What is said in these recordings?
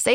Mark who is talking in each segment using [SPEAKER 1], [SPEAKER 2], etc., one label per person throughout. [SPEAKER 1] Say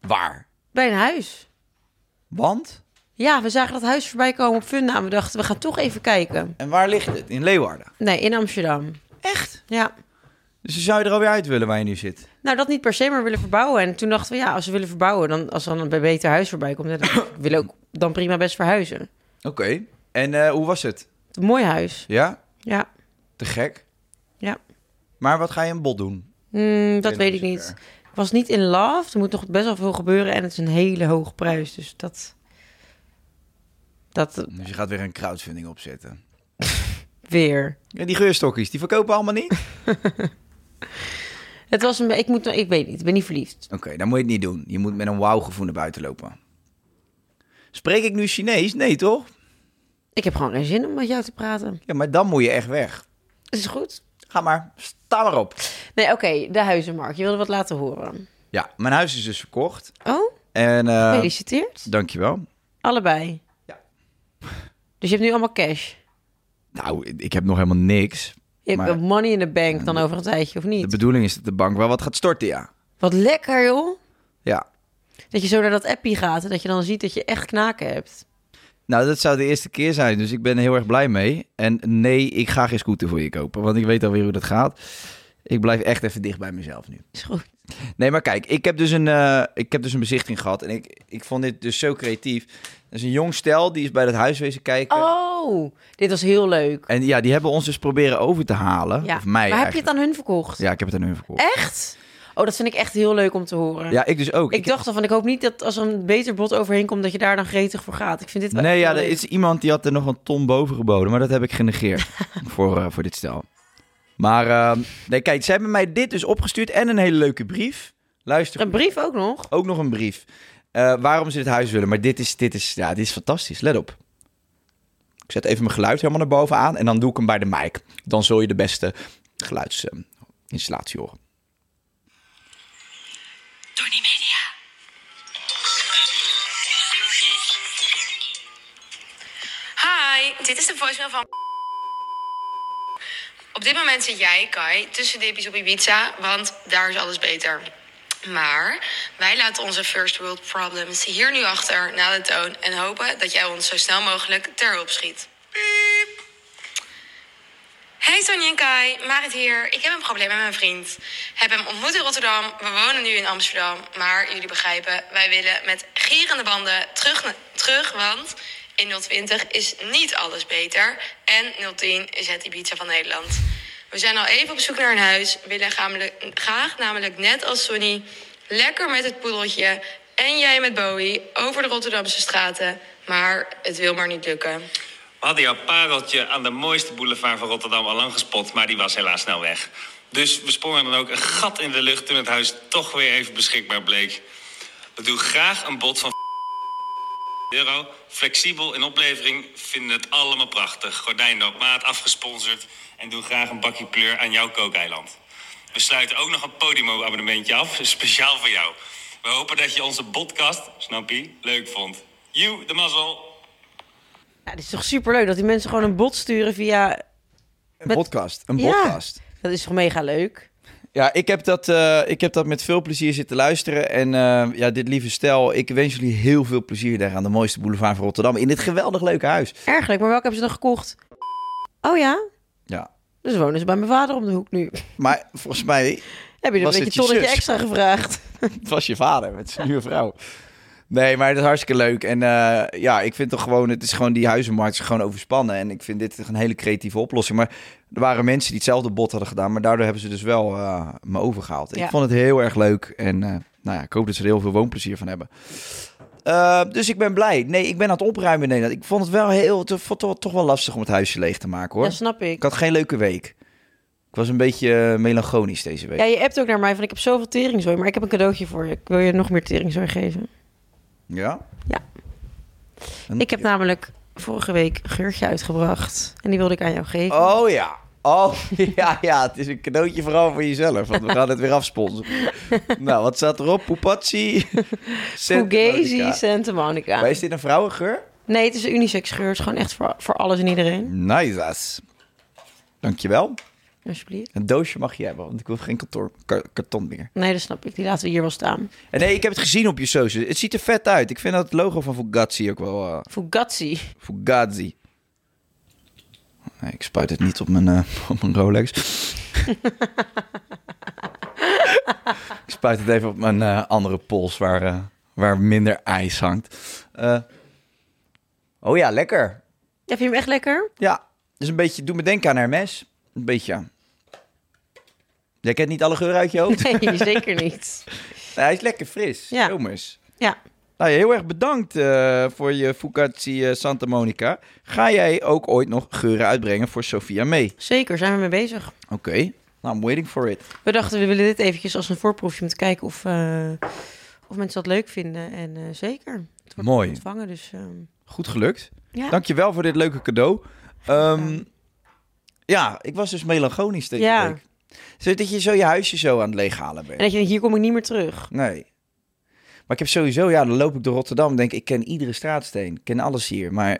[SPEAKER 2] Waar?
[SPEAKER 3] Bij een huis.
[SPEAKER 2] Want?
[SPEAKER 3] Ja, we zagen dat huis voorbij komen op Funda. En we dachten, we gaan toch even kijken.
[SPEAKER 2] En waar ligt het? In Leeuwarden.
[SPEAKER 3] Nee, in Amsterdam.
[SPEAKER 2] Echt?
[SPEAKER 3] Ja.
[SPEAKER 2] Dus dan zou je er alweer uit willen waar je nu zit.
[SPEAKER 3] Nou, dat niet per se, maar we willen verbouwen. En toen dachten we, ja, als we willen verbouwen, dan als er dan een beter huis voorbij komt, dan willen we ook dan prima best verhuizen.
[SPEAKER 2] Oké. En eh, hoe was het?
[SPEAKER 3] Een mooi huis.
[SPEAKER 2] Ja?
[SPEAKER 3] Ja,
[SPEAKER 2] Te gek.
[SPEAKER 3] ja.
[SPEAKER 2] Maar wat ga je in bot doen?
[SPEAKER 3] Mm, dat
[SPEAKER 2] Binnen
[SPEAKER 3] weet ik
[SPEAKER 2] zover.
[SPEAKER 3] niet. Ik was niet in love. Er moet nog best wel veel gebeuren en het is een hele hoge prijs. Dus dat, dat
[SPEAKER 2] Dus je gaat weer een crowdfunding opzetten.
[SPEAKER 3] weer.
[SPEAKER 2] Ja, die geurstokjes, die verkopen allemaal niet? Oké,
[SPEAKER 3] Het was een, ik moet, ik weet niet, ik ben niet verliefd.
[SPEAKER 2] dan moet je het niet doen. Je moet met een wauw gevoel naar buiten lopen. Spreek ik nu Chinees? Nee, toch?
[SPEAKER 3] Ik heb gewoon geen zin om met jou te praten.
[SPEAKER 2] Ja, maar dan moet je echt weg.
[SPEAKER 3] Het is goed.
[SPEAKER 2] Ga maar, sta maar op.
[SPEAKER 3] Nee, oké, de huizenmarkt. Je wilde wat laten horen.
[SPEAKER 2] Ja, mijn huis is dus verkocht.
[SPEAKER 3] Oh,
[SPEAKER 2] En eh
[SPEAKER 3] gefeliciteerd.
[SPEAKER 2] dankjewel.
[SPEAKER 3] Allebei.
[SPEAKER 2] Ja.
[SPEAKER 3] Dus je hebt nu allemaal cash.
[SPEAKER 2] Nou, ik heb nog helemaal niks.
[SPEAKER 3] Je hebt
[SPEAKER 2] Maar-
[SPEAKER 3] wel money in de bank dan over een tijdje, of
[SPEAKER 2] De
[SPEAKER 3] niet?
[SPEAKER 2] bedoeling is dat de bank wel wat gaat storten, ja.
[SPEAKER 3] Wat lekker, joh.
[SPEAKER 2] Ja.
[SPEAKER 3] Dat je zo naar dat appie gaat en dat je dan ziet dat je echt knaken hebt.
[SPEAKER 2] Nou, dat zou de eerste keer zijn, dus ik ben er heel erg blij mee. En nee, ik ga geen scooter voor je kopen, want ik weet alweer hoe dat gaat. Ik blijf echt even dicht bij mezelf nu.
[SPEAKER 3] Is goed.
[SPEAKER 2] Nee, maar kijk, ik heb dus een, eh, ik heb dus een bezichting gehad en ik, ik vond dit dus zo creatief. Er is een jong stel, die is bij dat huiswezen kijken.
[SPEAKER 3] Oh, dit was heel leuk.
[SPEAKER 2] En ja, die hebben ons dus proberen over te halen.
[SPEAKER 3] Ja.
[SPEAKER 2] Of mij
[SPEAKER 3] maar heb je
[SPEAKER 2] eigenlijk.
[SPEAKER 3] het aan hun verkocht?
[SPEAKER 2] Ja, ik heb het aan hun verkocht.
[SPEAKER 3] Echt? Oh, dat vind ik echt heel leuk om te horen.
[SPEAKER 2] Ja, ik dus ook.
[SPEAKER 3] Ik dacht al van, ik hoop niet dat als er een beter bod overheen komt, dat je daar dan gretig voor gaat. Ik vind dit wel
[SPEAKER 2] Nee,
[SPEAKER 3] echt
[SPEAKER 2] ja,
[SPEAKER 3] heel
[SPEAKER 2] er
[SPEAKER 3] leuk.
[SPEAKER 2] is iemand die had er nog een ton boven geboden, maar dat heb ik genegeerd voor, eh, voor dit stel. Maar ehm, nee, kijk, ze hebben mij dit dus opgestuurd en een hele leuke brief. Luister,
[SPEAKER 3] Een brief ook nog?
[SPEAKER 2] ook nog een brief. eh, waarom ze dit huis willen. Maar dit is, dit, is, ja, dit is fantastisch, let op. Ik zet even mijn geluid helemaal naar boven aan en dan doe ik hem bij de mic. Dan zul je de beste geluidsinstallatie horen.
[SPEAKER 4] Tony Media.
[SPEAKER 5] Dit is de voicemail van. Op dit moment zit jij, Kai, tussen dippies op Ibiza, want daar is alles beter. Maar wij laten onze first world problems hier nu achter na de toon en hopen dat jij ons zo snel mogelijk ter hulp schiet. Piep. Hey Sonja en Kai, Marit hier. Ik heb een probleem met mijn vriend. Heb hem ontmoet in Rotterdam. We wonen nu in Amsterdam. Maar jullie begrijpen, wij willen met gierende banden terug, na- terug want in 020 is niet alles beter. En 010 is het Ibiza van Nederland. We zijn al even op zoek naar een huis. Willen gamelijk- graag, namelijk net als Sonny, lekker met het poedeltje. En jij met Bowie over de Rotterdamse straten. Maar het wil maar niet lukken.
[SPEAKER 6] We hadden jouw pareltje aan de mooiste boulevard van Rotterdam al lang gespot, maar die was helaas snel weg. Dus we sprongen dan ook een gat in de lucht toen het huis toch weer even beschikbaar bleek. We doen graag een bod van euro. Flexibel in oplevering, vinden het allemaal prachtig. Gordijnen op maat, afgesponsord. En doen graag een bakje kleur aan jouw kookeiland. We sluiten ook nog een Podimo-abonnementje af, speciaal voor jou. We hopen dat je onze podcast, snap je, leuk vond. You, de mazzel.
[SPEAKER 3] Ja, dit is toch superleuk dat die mensen gewoon een bot sturen via...
[SPEAKER 2] Een
[SPEAKER 3] Met-
[SPEAKER 2] podcast. Een
[SPEAKER 3] Ja.
[SPEAKER 2] podcast.
[SPEAKER 3] Dat is toch mega leuk?
[SPEAKER 2] Ja, ik heb, dat, eh, ik heb dat met veel plezier zitten luisteren. En eh, ja, dit lieve stel, ik wens jullie heel veel plezier daar aan de mooiste boulevard van Rotterdam. In dit geweldig leuke huis.
[SPEAKER 3] Ergelijk, maar welke hebben ze dan gekocht? Oh ja?
[SPEAKER 2] Ja,
[SPEAKER 3] Dus wonen ze bij mijn vader om de hoek nu.
[SPEAKER 2] maar volgens mij
[SPEAKER 3] Heb je er
[SPEAKER 2] Was
[SPEAKER 3] een
[SPEAKER 2] het
[SPEAKER 3] beetje
[SPEAKER 2] je
[SPEAKER 3] tonnetje
[SPEAKER 2] zus?
[SPEAKER 3] extra gevraagd?
[SPEAKER 2] Het was je vader, het is nu een vrouw. Nee, maar dat is hartstikke leuk. En eh, ja, ik vind toch gewoon, het is gewoon die huizenmarkt is gewoon overspannen. En ik vind dit een hele creatieve oplossing. Maar er waren mensen die hetzelfde bot hadden gedaan, maar daardoor hebben ze dus wel eh, me overgehaald.
[SPEAKER 3] Ja.
[SPEAKER 2] Ik vond het heel erg leuk. En eh, nou ja, ik hoop dat ze er heel veel woonplezier van hebben. Eh, dus ik ben blij. Nee, ik ben aan het opruimen in Nederland. Ik vond het wel heel, het vond het toch, toch wel lastig om het huisje leeg te maken hoor.
[SPEAKER 3] Ja, snap
[SPEAKER 2] Ik
[SPEAKER 3] ik.
[SPEAKER 2] had geen leuke week. Ik was een beetje eh, melancholisch deze week.
[SPEAKER 3] Ja, je appt ook naar mij van ik heb zoveel teringzooi, maar ik heb een cadeautje voor je. Ik wil je nog meer teringzooi geven.
[SPEAKER 2] Ja?
[SPEAKER 3] Ja.
[SPEAKER 2] En-
[SPEAKER 3] Ik heb namelijk vorige week een geurtje uitgebracht en die wilde ik aan jou geven.
[SPEAKER 2] Oh ja. Oh ja, ja, het is een cadeautje vooral voor jezelf. Want we gaan het weer afsponsoren. nou, wat staat erop? Poepatsi. Santa
[SPEAKER 3] Fugazi
[SPEAKER 2] Monica.
[SPEAKER 3] Santa
[SPEAKER 2] Maar
[SPEAKER 3] Monica.
[SPEAKER 2] is dit een vrouwengeur?
[SPEAKER 3] Nee, het is een unisex geur. Het is gewoon echt voor, voor alles en
[SPEAKER 2] Mm.
[SPEAKER 3] iedereen.
[SPEAKER 2] Nice as. Dankjewel.
[SPEAKER 3] Alsjeblieft.
[SPEAKER 2] Een doosje mag je hebben, want ik wil geen kantoor, ka- karton meer.
[SPEAKER 3] Nee, dat snap ik. Die laten we hier wel staan.
[SPEAKER 2] En nee, ik heb het gezien op je socials. Het ziet er vet uit. Ik vind dat het logo van Fugazi ook wel... eh,
[SPEAKER 3] Fugazi.
[SPEAKER 2] Fugazi. Nee, ik spuit het niet op mijn, eh, op mijn Rolex. ik spuit het even op mijn eh, andere pols waar, eh, waar minder ijs hangt. Eh, oh ja, lekker.
[SPEAKER 3] Ja, vind je hem echt lekker?
[SPEAKER 2] Ja, dus een beetje, doe me denken aan Hermes. Een beetje. ja. Jij kent niet alle geuren uit je hoofd?
[SPEAKER 3] Nee, zeker niet.
[SPEAKER 2] Nee, hij is lekker fris.
[SPEAKER 3] Ja.
[SPEAKER 2] Zomers.
[SPEAKER 3] Ja.
[SPEAKER 2] Nou, ja, heel erg bedankt eh, voor je Fugazi eh, Santa Monica. Ga jij ook ooit nog geuren uitbrengen voor Sophia mee?
[SPEAKER 3] Zeker, zijn we mee bezig.
[SPEAKER 2] Oké, nou, I'm waiting for it.
[SPEAKER 3] We dachten, we willen dit eventjes als een voorproefje om te kijken of, eh, of mensen dat leuk vinden. En eh, zeker. Het wordt
[SPEAKER 2] Mooi.
[SPEAKER 3] ontvangen, dus ehm,
[SPEAKER 2] Goed gelukt.
[SPEAKER 3] ja.
[SPEAKER 2] Dankjewel voor dit leuke cadeau. Ehm, ja, ik was dus melancholisch deze
[SPEAKER 3] Ja.
[SPEAKER 2] week. Zo dat je zo je huisje zo aan het leeghalen bent.
[SPEAKER 3] En dat je denkt, hier kom ik niet meer terug.
[SPEAKER 2] Nee. Maar ik heb sowieso, ja, dan loop ik door Rotterdam en denk ik, ken iedere straatsteen. Ik ken alles hier, maar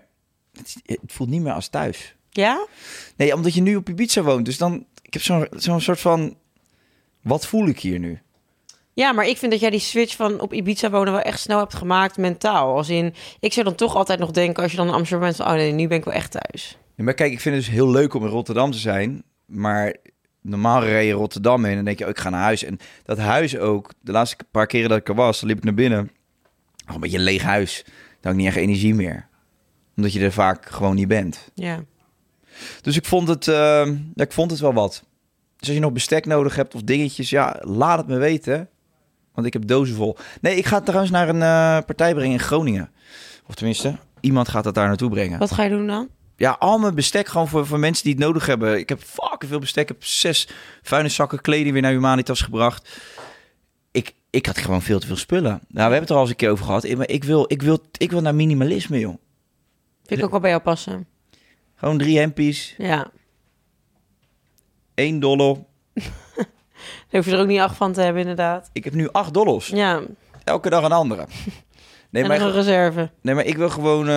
[SPEAKER 2] het, is- het voelt niet meer als thuis.
[SPEAKER 3] Ja?
[SPEAKER 2] Nee, omdat je nu op Ibiza woont. Dus dan, ik heb zo'n zo'n soort van, wat voel ik hier nu?
[SPEAKER 3] Ja, maar ik vind dat jij die switch van op Ibiza wonen wel echt snel hebt gemaakt mentaal. Als in, ik zou dan toch altijd nog denken als je dan in Amsterdam bent van, oh nee, nu ben ik wel echt thuis.
[SPEAKER 2] Ja, maar kijk, ik vind het dus heel leuk om in Rotterdam te zijn. Maar normaal reed je Rotterdam in en denk je, oh, ik ga naar huis. En dat huis ook, de laatste paar keren dat ik er was, dan liep ik naar binnen. Oh, een beetje een leeg huis. Dan had ik niet echt energie meer. Omdat je er vaak gewoon niet bent.
[SPEAKER 3] Ja.
[SPEAKER 2] Dus ik vond het, eh, ja, ik vond het wel wat. Dus als je nog bestek nodig hebt of dingetjes, ja, laat het me weten. Want ik heb dozen vol. Nee, ik ga het trouwens naar een eh, partij brengen in Groningen. Of tenminste, iemand gaat dat daar naartoe brengen.
[SPEAKER 3] Wat ga je doen dan?
[SPEAKER 2] Ja, al mijn bestek gewoon voor, voor mensen die het nodig hebben. Ik heb fucking veel bestek. Ik heb zes vuilniszakken kleding weer naar Humanitas gebracht. Ik, ik had gewoon veel te veel spullen. Nou, we hebben het er al eens een keer over gehad. Ik- Maar ik wil, ik wil, ik wil naar minimalisme, joh.
[SPEAKER 3] Vind ik ook wel bij jou passen.
[SPEAKER 2] Gewoon drie hempies,
[SPEAKER 3] Ja.
[SPEAKER 2] één dollar.
[SPEAKER 3] Daar hoef je er ook niet acht van te hebben, inderdaad.
[SPEAKER 2] Ik heb nu acht dollars.
[SPEAKER 3] Ja.
[SPEAKER 2] Elke dag een andere. Nee,
[SPEAKER 3] en
[SPEAKER 2] maar,
[SPEAKER 3] nog een reserve.
[SPEAKER 2] nee, maar ik wil gewoon... eh,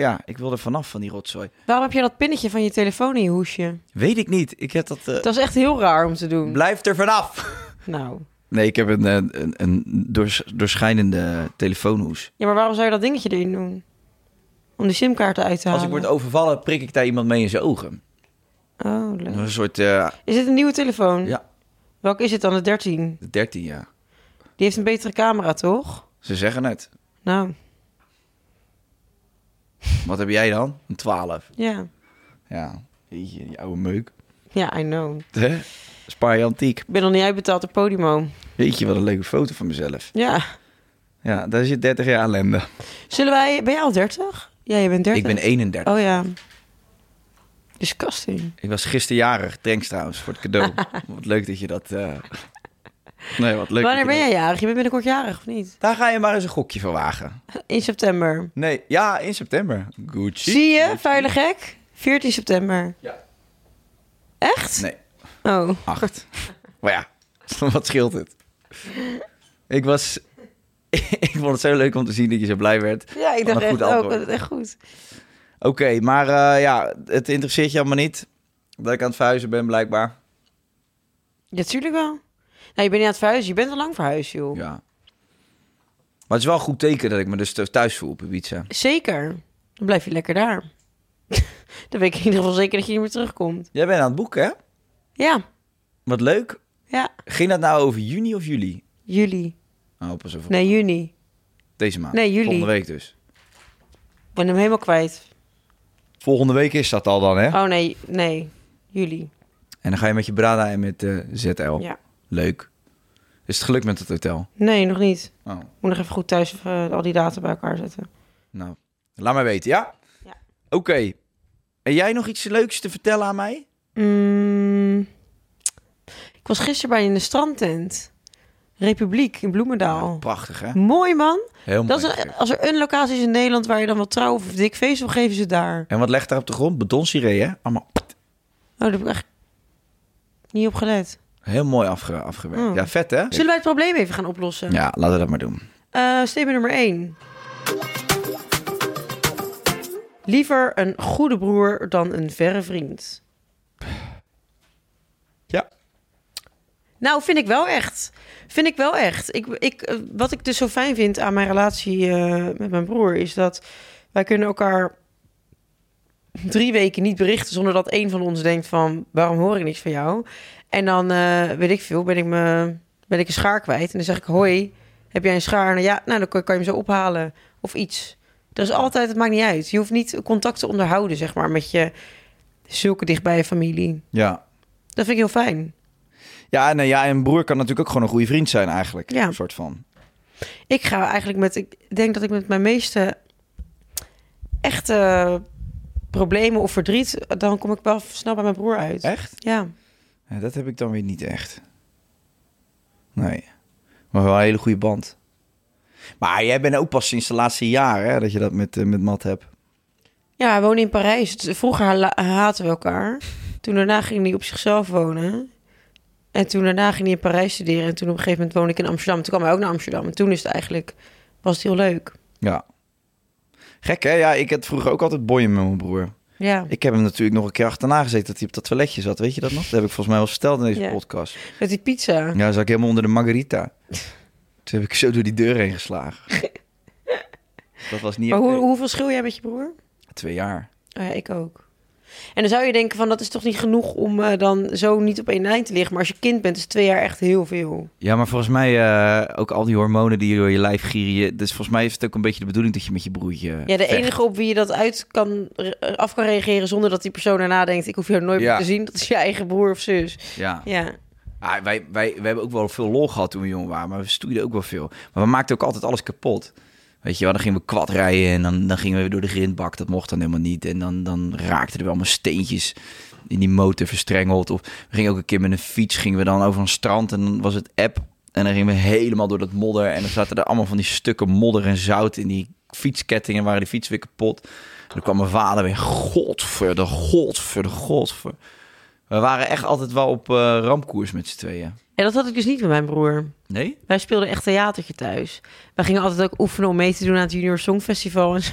[SPEAKER 2] ja, ik wil er vanaf van die rotzooi.
[SPEAKER 3] Waarom heb je dat pinnetje van je telefoon in je hoesje?
[SPEAKER 2] Weet ik niet. Ik heb dat... eh,
[SPEAKER 3] Dat is echt heel raar om te doen.
[SPEAKER 2] Blijf er vanaf!
[SPEAKER 3] nou.
[SPEAKER 2] Nee, ik heb een, eh, een, een doors, doorschijnende telefoonhoes.
[SPEAKER 3] Ja, maar waarom zou je dat dingetje erin doen? Om de simkaarten uit te
[SPEAKER 2] Als
[SPEAKER 3] halen.
[SPEAKER 2] ik word overvallen, prik ik daar iemand mee in zijn ogen.
[SPEAKER 3] Oh, leuk.
[SPEAKER 2] Een soort... eh,
[SPEAKER 3] Is dit een nieuwe telefoon?
[SPEAKER 2] ja,
[SPEAKER 3] Welke is het dan? De 13? Die
[SPEAKER 2] de 13 jaar.
[SPEAKER 3] heeft een betere camera, toch?
[SPEAKER 2] Ze zeggen het.
[SPEAKER 3] Nou,
[SPEAKER 2] Wat heb jij dan? Een 12.
[SPEAKER 3] ja.
[SPEAKER 2] Ja, jeetje, die oude meuk.
[SPEAKER 3] Ja, I know.
[SPEAKER 2] Hè? Spaar je antiek.
[SPEAKER 3] Ik ben nog niet uitbetaald op Podimo.
[SPEAKER 2] Weet je, wat een leuke foto van mezelf.
[SPEAKER 3] Ja.
[SPEAKER 2] Ja, daar zit 30 jaar ellende.
[SPEAKER 3] Zullen wij... Ben jij al 30? Ja, je bent 30.
[SPEAKER 2] Ik ben 31.
[SPEAKER 3] Oh ja. Disgusting.
[SPEAKER 2] Ik was gisterjarig. Thanks trouwens voor het cadeau. wat leuk dat je dat... eh, Nee, wat leuk.
[SPEAKER 3] Wanneer
[SPEAKER 2] dat
[SPEAKER 3] ben
[SPEAKER 2] je dat-
[SPEAKER 3] jij jarig? Je bent binnenkort jarig, of niet?
[SPEAKER 2] Daar ga je maar eens een gokje van wagen.
[SPEAKER 3] In september.
[SPEAKER 2] Nee, ja, in september. Gucci.
[SPEAKER 3] Zie je? Vuile gek. 14 september.
[SPEAKER 2] Ja.
[SPEAKER 3] Echt?
[SPEAKER 2] Nee,
[SPEAKER 3] Oh.
[SPEAKER 2] acht. maar ja, wat scheelt het? Ik was... ik vond het zo leuk om te zien dat je zo blij werd.
[SPEAKER 3] Ja, ik
[SPEAKER 2] Van
[SPEAKER 3] dacht
[SPEAKER 2] een
[SPEAKER 3] echt
[SPEAKER 2] goed
[SPEAKER 3] ook.
[SPEAKER 2] antwoord.
[SPEAKER 3] dat is Echt goed.
[SPEAKER 2] Oké, maar eh, ja, het interesseert je allemaal niet. Dat ik aan het verhuizen ben, blijkbaar.
[SPEAKER 3] Ja, tuurlijk wel. Nou, je bent niet aan het verhuizen. Je bent al lang verhuisd, joh.
[SPEAKER 2] Ja. Maar het is wel een goed teken dat ik me dus thuis voel op Ibiza.
[SPEAKER 3] Zeker. Dan blijf je lekker daar. dan weet ik in ieder geval zeker dat je niet meer terugkomt.
[SPEAKER 2] Jij bent aan het boeken, hè?
[SPEAKER 3] Ja.
[SPEAKER 2] Wat leuk.
[SPEAKER 3] Ja.
[SPEAKER 2] Ging dat nou over juni of juli?
[SPEAKER 3] Juli.
[SPEAKER 2] Oh, pas over
[SPEAKER 3] Nee, juni.
[SPEAKER 2] deze maand.
[SPEAKER 3] nee, juli.
[SPEAKER 2] Volgende week dus.
[SPEAKER 3] Ik ben hem helemaal kwijt.
[SPEAKER 2] Volgende week is dat al dan, hè?
[SPEAKER 3] Oh nee, nee. Juli.
[SPEAKER 2] En dan ga je met je Brada en met eh, ZL.
[SPEAKER 3] Ja.
[SPEAKER 2] Leuk. Is het geluk met het hotel?
[SPEAKER 3] Nee, nog niet.
[SPEAKER 2] Oh,
[SPEAKER 3] Ik moet nog even goed thuis eh, al die data bij elkaar zetten.
[SPEAKER 2] nou. Laat mij weten, ja?
[SPEAKER 3] Ja.
[SPEAKER 2] Oké. En jij nog iets leuks te vertellen aan mij?
[SPEAKER 3] Mm. Ik was gisteren bij je in de strandtent. Republiek in Bloemendaal.
[SPEAKER 2] Prachtig, hè?
[SPEAKER 3] Mooi man.
[SPEAKER 2] Heel
[SPEAKER 3] Dat
[SPEAKER 2] mooi.
[SPEAKER 3] is een- als er een locatie is in Nederland waar je dan wil trouwen of een dik feest wil, geven ze daar.
[SPEAKER 2] En wat legt daar op de grond? Betonsiree, hè? Allemaal
[SPEAKER 3] Oh, daar heb ik echt niet op gelet.
[SPEAKER 2] heel mooi afge- afgewerkt.
[SPEAKER 3] Mm.
[SPEAKER 2] Ja, vet, hè?
[SPEAKER 3] Zullen wij het probleem even gaan oplossen?
[SPEAKER 2] Ja, laten we dat maar doen.
[SPEAKER 3] Eh, statement nummer 1. Liever een goede broer dan een verre vriend.
[SPEAKER 2] Ja.
[SPEAKER 3] Nou, vind ik wel echt. Vind ik wel echt. Ik, ik, eh, wat ik dus zo fijn vind aan mijn relatie eh, met mijn broer is dat wij kunnen elkaar drie weken niet berichten zonder dat één van ons denkt van waarom hoor ik niks van jou? En dan eh, weet ik veel, ben ik, me, ben ik een schaar kwijt en dan zeg ik hoi, heb jij een schaar? Nou ja, nou dan kan kan je hem zo ophalen of iets. Er is altijd, het maakt niet uit. Je hoeft niet contact te onderhouden, zeg maar, met je zulke dichtbij familie.
[SPEAKER 2] Ja.
[SPEAKER 3] Dat vind ik heel fijn.
[SPEAKER 2] Ja, nee, ja, en een broer kan natuurlijk ook gewoon een goede vriend zijn eigenlijk.
[SPEAKER 3] Ja.
[SPEAKER 2] Een soort van.
[SPEAKER 3] Ik ga eigenlijk met, ik denk dat ik met mijn meeste echte problemen of verdriet, dan kom ik wel snel bij mijn broer uit.
[SPEAKER 2] Echt?
[SPEAKER 3] Ja.
[SPEAKER 2] Ja, dat heb ik dan weer niet echt. Nee. Maar wel een hele goede band. Maar jij bent ook pas sinds de laatste jaren hè, dat je dat met, eh, met Matt hebt.
[SPEAKER 3] Ja, hij woonde in Parijs. Het- Vroeger ha- haatten we elkaar. Toen daarna ging hij op zichzelf wonen. En toen daarna ging hij in Parijs studeren. En toen op een gegeven moment woonde ik in Amsterdam. Toen kwam hij ook naar Amsterdam. En toen is het eigenlijk, was het heel leuk.
[SPEAKER 2] Ja. Gek hè? Ja, ik had vroeger ook altijd boeien met mijn broer.
[SPEAKER 3] Ja.
[SPEAKER 2] Ik heb hem natuurlijk nog een keer achterna gezeten dat hij op dat toiletje zat. Weet je dat nog? Dat heb ik volgens mij wel verteld in deze
[SPEAKER 3] Ja.
[SPEAKER 2] podcast.
[SPEAKER 3] Met die pizza.
[SPEAKER 2] Ja, dan zat ik helemaal onder de margarita. Toen heb ik zo door die deur heen geslagen. Dat was niet
[SPEAKER 3] Maar hoe,
[SPEAKER 2] oké.
[SPEAKER 3] hoeveel schil jij met je broer?
[SPEAKER 2] Twee jaar.
[SPEAKER 3] Oh ja, ik ook. En dan zou je denken van, dat is toch niet genoeg om eh, dan zo niet op één lijn te liggen. Maar als je kind bent, is twee jaar echt heel veel.
[SPEAKER 2] Ja, maar volgens mij eh, ook al die hormonen die je door je lijf gieren. je- dus volgens mij is het ook een beetje de bedoeling dat je met je broertje.
[SPEAKER 3] Ja, de
[SPEAKER 2] vecht.
[SPEAKER 3] enige op wie je dat uit kan, re- af kan reageren zonder dat die persoon daarna denkt... ik hoef jou nooit
[SPEAKER 2] Ja.
[SPEAKER 3] meer te zien, dat is je eigen broer of zus.
[SPEAKER 2] Ja.
[SPEAKER 3] Ja.
[SPEAKER 2] Ah, wij, wij, we hebben ook wel veel lol gehad toen we jong waren, maar we stoeiden ook wel veel. Maar we maakten ook altijd alles kapot. Weet je wel, dan gingen we kwad rijden en dan, dan gingen we weer door de grindbak. Dat mocht dan helemaal niet. En dan, dan raakten er wel allemaal steentjes in die motor verstrengeld. Of we gingen ook een keer met een fiets, gingen we dan over een strand en dan was het app. En dan gingen we helemaal door dat modder. En dan zaten er allemaal van die stukken modder en zout in die fietskettingen. Waren die fiets weer kapot. En dan kwam mijn vader weer, godver, de godver, de godver. We waren echt altijd wel op eh, rampkoers met z'n tweeën.
[SPEAKER 3] En dat had ik dus niet met mijn broer.
[SPEAKER 2] Nee?
[SPEAKER 3] Wij speelden echt theatertje thuis. Wij gingen altijd ook oefenen om mee te doen aan het Junior Songfestival en zo.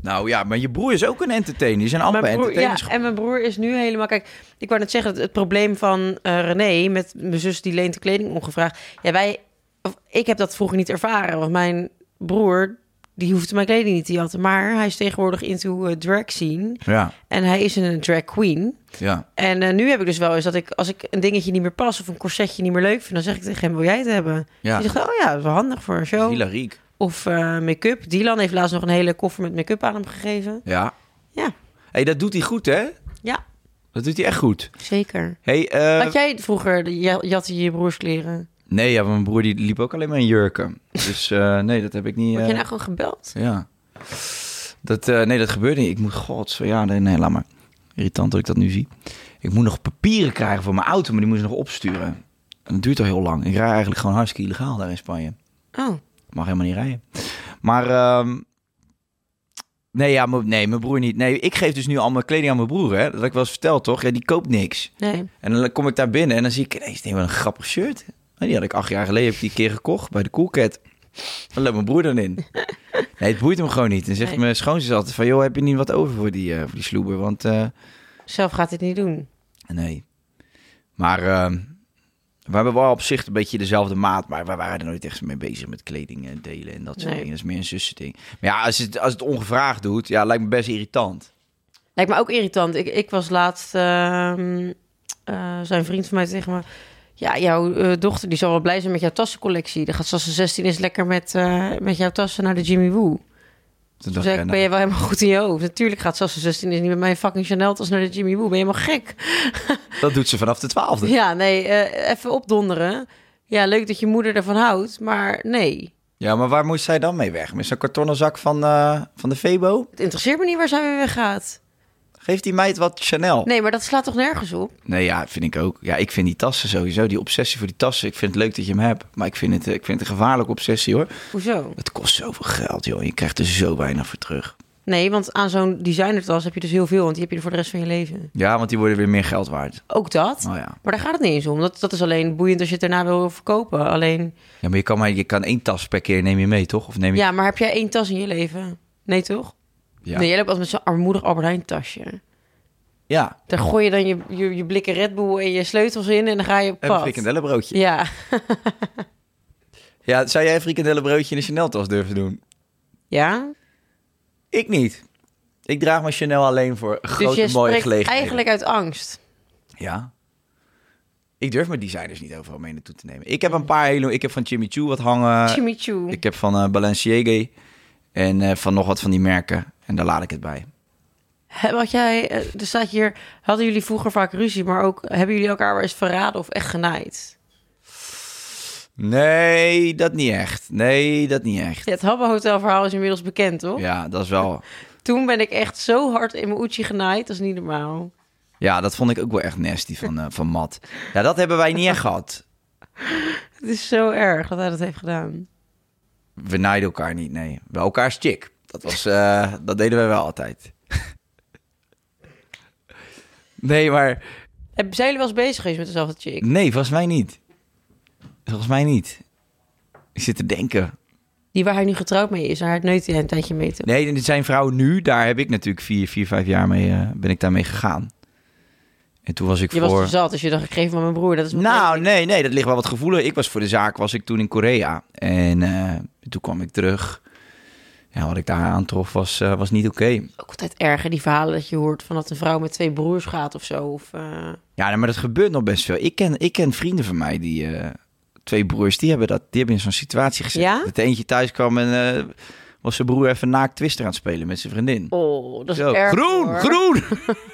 [SPEAKER 2] Nou ja, maar je broer is ook een entertainer. Die zijn allemaal
[SPEAKER 3] Mijn broer, ja,
[SPEAKER 2] entertainers.
[SPEAKER 3] en mijn broer is nu helemaal... Kijk, ik wou net zeggen, het, het probleem van eh, René... met mijn zus die leent de kleding ongevraagd... Ja, wij... Of, ik heb dat vroeger niet ervaren. Want mijn broer, die hoefde mijn kleding niet te jatten. Maar hij is tegenwoordig into eh, drag scene.
[SPEAKER 2] Ja,
[SPEAKER 3] En hij is een drag queen.
[SPEAKER 2] ja.
[SPEAKER 3] En eh, nu heb ik dus wel eens dat ik... als ik een dingetje niet meer pas... of een corsetje niet meer leuk vind... dan zeg ik tegen hem, wil jij het hebben?
[SPEAKER 2] Ja.
[SPEAKER 3] Die zegt, oh ja, dat is wel handig voor een show.
[SPEAKER 2] Hilariek.
[SPEAKER 3] Of eh, make-up. Dylan heeft laatst nog een hele koffer met make-up aan hem gegeven.
[SPEAKER 2] Ja.
[SPEAKER 3] Ja,
[SPEAKER 2] hey, dat doet hij goed, hè?
[SPEAKER 3] ja
[SPEAKER 2] Dat doet hij echt goed.
[SPEAKER 3] zeker.
[SPEAKER 2] Hey, eh,
[SPEAKER 3] Had jij vroeger, de- ja- jatte je je broers kleren?
[SPEAKER 2] Nee, ja, mijn broer die liep ook alleen maar in jurken. Dus eh, nee, dat heb ik niet...
[SPEAKER 3] Word
[SPEAKER 2] eh,
[SPEAKER 3] je nou gewoon gebeld?
[SPEAKER 2] Ja. Dat, eh, nee, dat gebeurde niet. Ik moet, god, zo- ja, nee, nee, laat maar. Irritant dat ik dat nu zie. Ik moet nog papieren krijgen voor mijn auto, maar die moet ze nog opsturen. En dat duurt al heel lang. Ik rij eigenlijk gewoon hartstikke illegaal daar in Spanje.
[SPEAKER 3] Oh,
[SPEAKER 2] Ik mag helemaal niet rijden. Maar, ehm, nee, ja, mijn- nee, mijn broer niet. Nee, ik geef dus nu al mijn kleding aan mijn broer, hè. Dat had ik wel eens verteld, toch? Ja, die koopt niks.
[SPEAKER 3] nee.
[SPEAKER 2] En dan kom ik daar binnen en dan zie ik ineens denk, wat een grappig shirt. En die had ik acht jaar geleden heb ik die een keer gekocht bij de Coolcat. Dan loopt mijn broer dan in. Nee, het boeit hem gewoon niet. Dan zegt
[SPEAKER 3] Nee.
[SPEAKER 2] mijn schoonzus altijd van... joh, heb je niet wat over voor die, eh, voor die sloeber? Want eh,
[SPEAKER 3] Zelf gaat dit niet doen.
[SPEAKER 2] nee. Maar ehm, we hebben wel op zich een beetje dezelfde maat... maar we waren er nooit echt mee bezig met kleding en delen en dat soort
[SPEAKER 3] Nee.
[SPEAKER 2] dingen. Dat is meer een zussending. Maar ja, als het, als het ongevraagd doet, ja, lijkt me best irritant.
[SPEAKER 3] Lijkt me ook irritant. Ik, ik was laatst, ehm, eh, zijn vriend van mij tegen me... Ja, jouw eh, dochter die zal wel blij zijn met jouw tassencollectie. Dan gaat ze als ze 16 is lekker met, eh, met jouw tassen naar de Jimmy Woo.
[SPEAKER 2] Toen
[SPEAKER 3] Toen
[SPEAKER 2] dacht
[SPEAKER 3] zei
[SPEAKER 2] ik,
[SPEAKER 3] Dus ik,
[SPEAKER 2] eh,
[SPEAKER 3] ben je wel helemaal goed in je hoofd? Natuurlijk gaat ze als ze 16 is niet met mijn fucking Chanel tas naar de Jimmy Woo. Ben je helemaal gek?
[SPEAKER 2] nou, dat doet ze vanaf de twaalfde.
[SPEAKER 3] ja, nee, eh, even opdonderen. Ja, leuk dat je moeder ervan houdt, maar nee...
[SPEAKER 2] Ja, maar waar moest zij dan mee weg? Met zo'n kartonnen zak van, eh, van de Febo?
[SPEAKER 3] Het interesseert me niet waar zij weer weg gaat.
[SPEAKER 2] Geeft die meid wat Chanel?
[SPEAKER 3] Nee, maar dat slaat toch nergens op?
[SPEAKER 2] Nee, ja, vind ik ook. Ja, ik vind die tassen sowieso, die obsessie voor die tassen. Ik vind het leuk dat je hem hebt, maar ik vind het, eh, ik vind het een gevaarlijke obsessie hoor.
[SPEAKER 3] Hoezo?
[SPEAKER 2] Het kost zoveel geld, joh. Je krijgt er zo weinig voor terug.
[SPEAKER 3] Nee, want aan zo'n designertas heb je dus heel veel, want die heb je voor de rest van je leven.
[SPEAKER 2] Ja, want die worden weer meer geld waard.
[SPEAKER 3] Ook dat.
[SPEAKER 2] Oh ja.
[SPEAKER 3] Maar daar gaat het niet eens om. Dat, dat is alleen boeiend als je het daarna wil verkopen. Alleen,
[SPEAKER 2] Ja, maar je kan, maar je kan één tas per keer neem je mee, toch? Of neem je...
[SPEAKER 3] ja, maar heb jij één tas in je leven? Nee, toch?
[SPEAKER 2] Ja.
[SPEAKER 3] Nee, jij loopt altijd met zo'n armoedig Albert Heijn tasje.
[SPEAKER 2] ja.
[SPEAKER 3] Daar gooi je dan je, je, je blikken Red Bull en je sleutels in en dan ga je op
[SPEAKER 2] En een
[SPEAKER 3] pad.
[SPEAKER 2] frikandellenbroodje.
[SPEAKER 3] Ja.
[SPEAKER 2] Ja, zou jij een frikandellenbroodje in een Chanel-tas durven doen?
[SPEAKER 3] Ja?
[SPEAKER 2] Ik niet. Ik draag mijn Chanel alleen voor
[SPEAKER 3] Dus
[SPEAKER 2] grote,
[SPEAKER 3] je
[SPEAKER 2] mooie
[SPEAKER 3] spreekt
[SPEAKER 2] gelegenheden.
[SPEAKER 3] eigenlijk uit angst.
[SPEAKER 2] Ja. Ik durf mijn designers niet overal mee naartoe te nemen. Ik heb een paar hele... Ik heb van Jimmy Choo wat hangen.
[SPEAKER 3] Jimmy Choo.
[SPEAKER 2] Ik heb van eh Balenciaga en eh, van nog wat van die merken. En daar laat ik het bij.
[SPEAKER 3] Hè, Wat jij, eh, er staat hier, hadden jullie vroeger vaak ruzie, maar ook hebben jullie elkaar wel eens verraden of echt genaaid?
[SPEAKER 2] Nee, dat niet echt. Nee, dat niet echt.
[SPEAKER 3] Ja, het Habbo Hotel verhaal is inmiddels bekend, toch?
[SPEAKER 2] Ja, dat is wel...
[SPEAKER 3] Toen ben ik echt zo hard in mijn oetje genaaid, dat is niet normaal.
[SPEAKER 2] Ja, dat vond ik ook wel echt nasty van, eh, van Matt. Ja, dat hebben wij niet echt gehad.
[SPEAKER 3] Het is zo erg dat hij dat heeft gedaan.
[SPEAKER 2] We naaiden elkaar niet, nee. Wel elkaars chick. Dat, was, eh, dat deden we wel altijd. nee, maar...
[SPEAKER 3] Heb- Zijn jullie wel eens bezig geweest met dezelfde chick?
[SPEAKER 2] Nee, volgens mij niet. Volgens mij niet. Ik zit te denken.
[SPEAKER 3] Die waar hij nu getrouwd mee is, en haar neukt hij een tijdje mee te
[SPEAKER 2] Nee, en zijn vrouw nu, daar heb ik natuurlijk vier, vier vijf jaar mee, eh, ben ik daarmee gegaan. En toen was ik
[SPEAKER 3] Je was
[SPEAKER 2] voor...
[SPEAKER 3] er zat, dus je dacht, ik geef hem aan mijn broer. Dat is
[SPEAKER 2] nou, nee, nee, dat ligt wel wat gevoelig. Ik was voor de zaak, was ik toen in Korea. En eh, toen kwam ik terug. Ja, wat ik daar aantrof was, eh, was niet oké.
[SPEAKER 3] ook altijd erg, hè, die verhalen dat je hoort van dat een vrouw met twee broers gaat of zo. Of, eh,
[SPEAKER 2] Ja, nee, maar dat gebeurt nog best veel. Ik ken, ik ken vrienden van mij die... eh, twee broers, die hebben, dat, die hebben in zo'n situatie gezet.
[SPEAKER 3] Ja?
[SPEAKER 2] Dat eentje thuis kwam en eh, was zijn broer even naakt twister aan het spelen met zijn vriendin.
[SPEAKER 3] Oh, dat is
[SPEAKER 2] Zo,
[SPEAKER 3] erg.
[SPEAKER 2] groen,
[SPEAKER 3] hoor.
[SPEAKER 2] groen!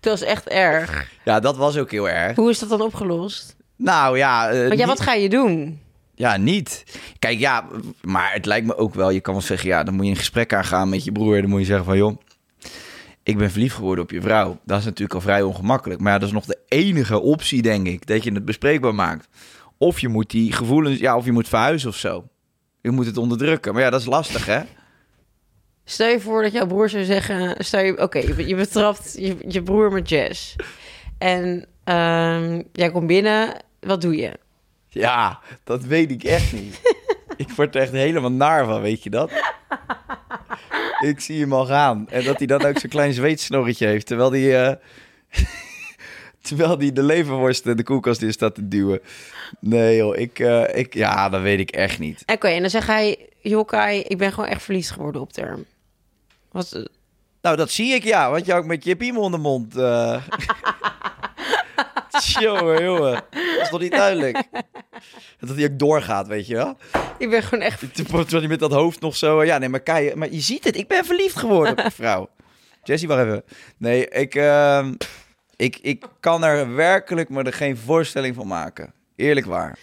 [SPEAKER 3] Dat is echt erg.
[SPEAKER 2] Ja, dat was ook heel erg.
[SPEAKER 3] Hoe is dat dan opgelost?
[SPEAKER 2] Nou ja, eh,
[SPEAKER 3] Want ja,
[SPEAKER 2] niet-
[SPEAKER 3] wat ga je doen?
[SPEAKER 2] ja, niet. Kijk, ja, maar het lijkt me ook wel. Je kan wel zeggen, ja, dan moet je een gesprek aangaan met je broer. Dan moet je zeggen van, joh, ik ben verliefd geworden op je vrouw. Dat is natuurlijk al vrij ongemakkelijk. Maar ja, dat is nog de enige optie, denk ik, dat je het bespreekbaar maakt. Of je moet die gevoelens, ja, of je moet verhuizen of zo. Je moet het onderdrukken. Maar ja, dat is lastig, hè?
[SPEAKER 3] Stel je voor dat jouw broer zou zeggen... Stel je, Oké, je, be- je betrapt je, je broer met jazz. En ehm, jij komt binnen, wat doe je?
[SPEAKER 2] Ja, dat weet ik echt niet. ik word er echt helemaal naar van, weet je dat? ik zie hem al gaan. En dat hij dan ook zo'n klein zweetsnorretje heeft, terwijl hij... eh, Terwijl die de leverworst en de koelkast in staat te duwen. Nee joh, ik, eh, ik... Ja, dat weet ik echt niet.
[SPEAKER 3] Oké, en dan zegt hij, Jokai, ik ben gewoon echt verliefd geworden op term. Wat, eh,
[SPEAKER 2] Nou, dat zie ik ja, want je ook met je piemel in de mond. eh. jongen, jongen. Dat is nog niet duidelijk. En Dat hij ook doorgaat, weet je wel.
[SPEAKER 3] ik ben gewoon echt...
[SPEAKER 2] Terwijl hij met dat hoofd nog zo... eh, Ja, nee, maar Kai, maar je ziet het. Ik ben verliefd geworden op die vrouw. Jessie, wacht even. Nee, ik, ehm, ik, ik kan er werkelijk me er geen voorstelling van maken. Eerlijk waar.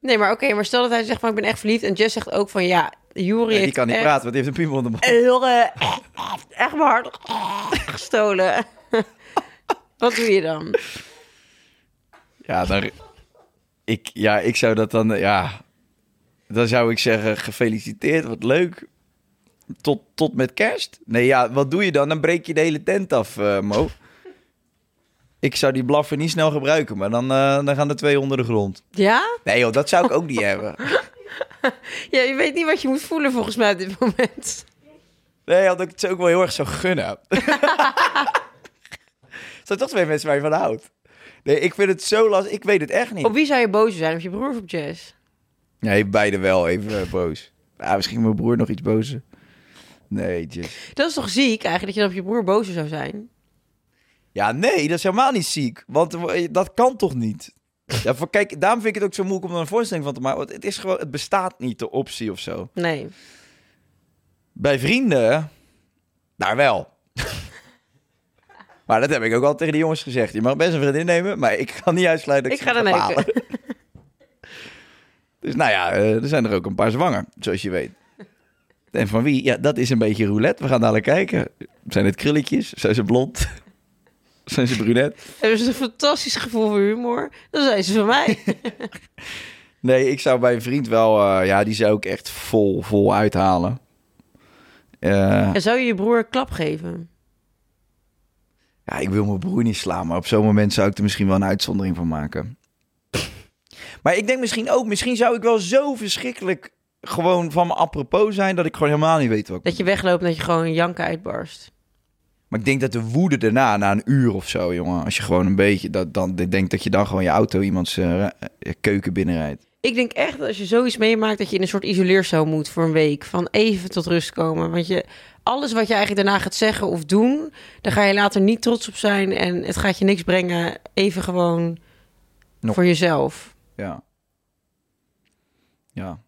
[SPEAKER 3] Nee, maar oké, maar stel dat hij zegt van, ik ben echt verliefd. En Jess zegt ook van, ja, Juri
[SPEAKER 2] Nee, die
[SPEAKER 3] heeft
[SPEAKER 2] kan niet
[SPEAKER 3] echt-
[SPEAKER 2] praten, want die heeft een piemel in de mond.
[SPEAKER 3] Jure, echt mijn hart gestolen. Wat doe je dan?
[SPEAKER 2] Ja, daar, ik, ja, ik zou dat dan... eh, Ja, dan zou ik zeggen, gefeliciteerd, wat leuk. Tot, tot met kerst? Nee, ja, wat doe je dan? Dan breek je de hele tent af, eh, Mo. Ik zou die blaffer niet snel gebruiken, maar dan, eh, dan gaan de twee onder de grond.
[SPEAKER 3] Ja?
[SPEAKER 2] Nee joh, dat zou ik ook niet hebben.
[SPEAKER 3] Ja, je weet niet wat je moet voelen volgens mij op dit moment.
[SPEAKER 2] Nee, had ik het ze ook wel heel erg zou gunnen. Er zijn toch twee mensen waar je van houdt. Nee, ik vind het zo lastig. Ik weet het echt niet.
[SPEAKER 3] Op wie zou je boos zijn? Op je broer of op Jess?
[SPEAKER 2] Nee, beide wel even eh, boos. Ah, misschien mijn broer nog iets bozer. Nee, Jess.
[SPEAKER 3] Dat is toch ziek eigenlijk, dat je dan op je broer boos zou zijn?
[SPEAKER 2] Ja, nee, dat is helemaal niet ziek. Want eh, dat kan toch niet? Ja, voor, kijk, daarom vind ik het ook zo moeilijk om er een voorstelling van te maken. Want het, is gewoon, het bestaat niet, de optie of zo.
[SPEAKER 3] Nee.
[SPEAKER 2] Bij vrienden, daar wel. maar dat heb ik ook al tegen de jongens gezegd. Je mag best een vriendin nemen, maar ik kan niet uitsluiten dat
[SPEAKER 3] Ik
[SPEAKER 2] ik,
[SPEAKER 3] ga
[SPEAKER 2] ze
[SPEAKER 3] ermee.
[SPEAKER 2] bepalen. dus nou ja, eh, er zijn er ook een paar zwanger, zoals je weet. En van wie? Ja, dat is een beetje roulette. We gaan dadelijk kijken. Zijn het krulletjes? Zijn ze blond? zijn ze brunet?
[SPEAKER 3] Hebben ze een fantastisch gevoel voor humor? Dan zijn ze van mij.
[SPEAKER 2] Nee, ik zou bij een vriend wel... eh, ja, die zou ik echt vol, vol uithalen. Eh,
[SPEAKER 3] En zou je je broer een klap geven?
[SPEAKER 2] Ja, ik wil mijn broer niet slaan, maar op zo'n moment zou ik er misschien wel een uitzondering van maken. Maar ik denk misschien ook, misschien zou ik wel zo verschrikkelijk gewoon van me apropos zijn dat ik gewoon helemaal niet weet wat ik.
[SPEAKER 3] Dat je wegloopt en dat je gewoon een janken uitbarst.
[SPEAKER 2] Maar ik denk dat de woede daarna, na een uur of zo, jongen, als je gewoon een beetje dat dan, ik denk dat je dan gewoon je auto iemands eh, eh, keuken binnenrijdt.
[SPEAKER 3] Ik denk echt dat als je zoiets meemaakt dat je in een soort isoleercel moet voor een week. Van even tot rust komen. Want je, alles wat je eigenlijk daarna gaat zeggen of doen, daar ga je later niet trots op zijn. En het gaat je niks brengen. Even gewoon
[SPEAKER 2] Nog.
[SPEAKER 3] voor jezelf.
[SPEAKER 2] Ja. Ja.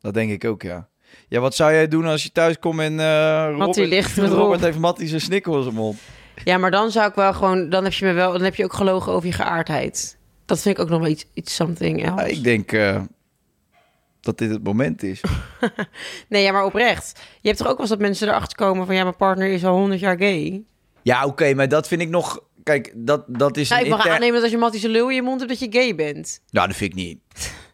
[SPEAKER 2] Dat denk ik ook, ja. Ja, wat zou jij doen als je thuis komt en eh Robert,
[SPEAKER 3] ligt met
[SPEAKER 2] Robert
[SPEAKER 3] Rob.
[SPEAKER 2] heeft Mattie zijn snikkel in zijn mond?
[SPEAKER 3] Ja, maar dan zou ik wel gewoon, dan heb je me wel, dan heb je ook gelogen over je geaardheid. Dat vind ik ook nog wel iets, iets something
[SPEAKER 2] Ja,
[SPEAKER 3] else.
[SPEAKER 2] ik denk eh, dat dit het moment is.
[SPEAKER 3] Nee, ja, maar oprecht. Je hebt toch ook wel eens dat mensen erachter komen van... ja, mijn partner is al 100 jaar gay.
[SPEAKER 2] Ja, oké, maar dat vind ik nog. Kijk, dat, dat is.
[SPEAKER 3] Nou, ik mag
[SPEAKER 2] inter-
[SPEAKER 3] aannemen dat als je mattische lul in je mond hebt... dat je gay bent.
[SPEAKER 2] Nou, dat vind ik niet.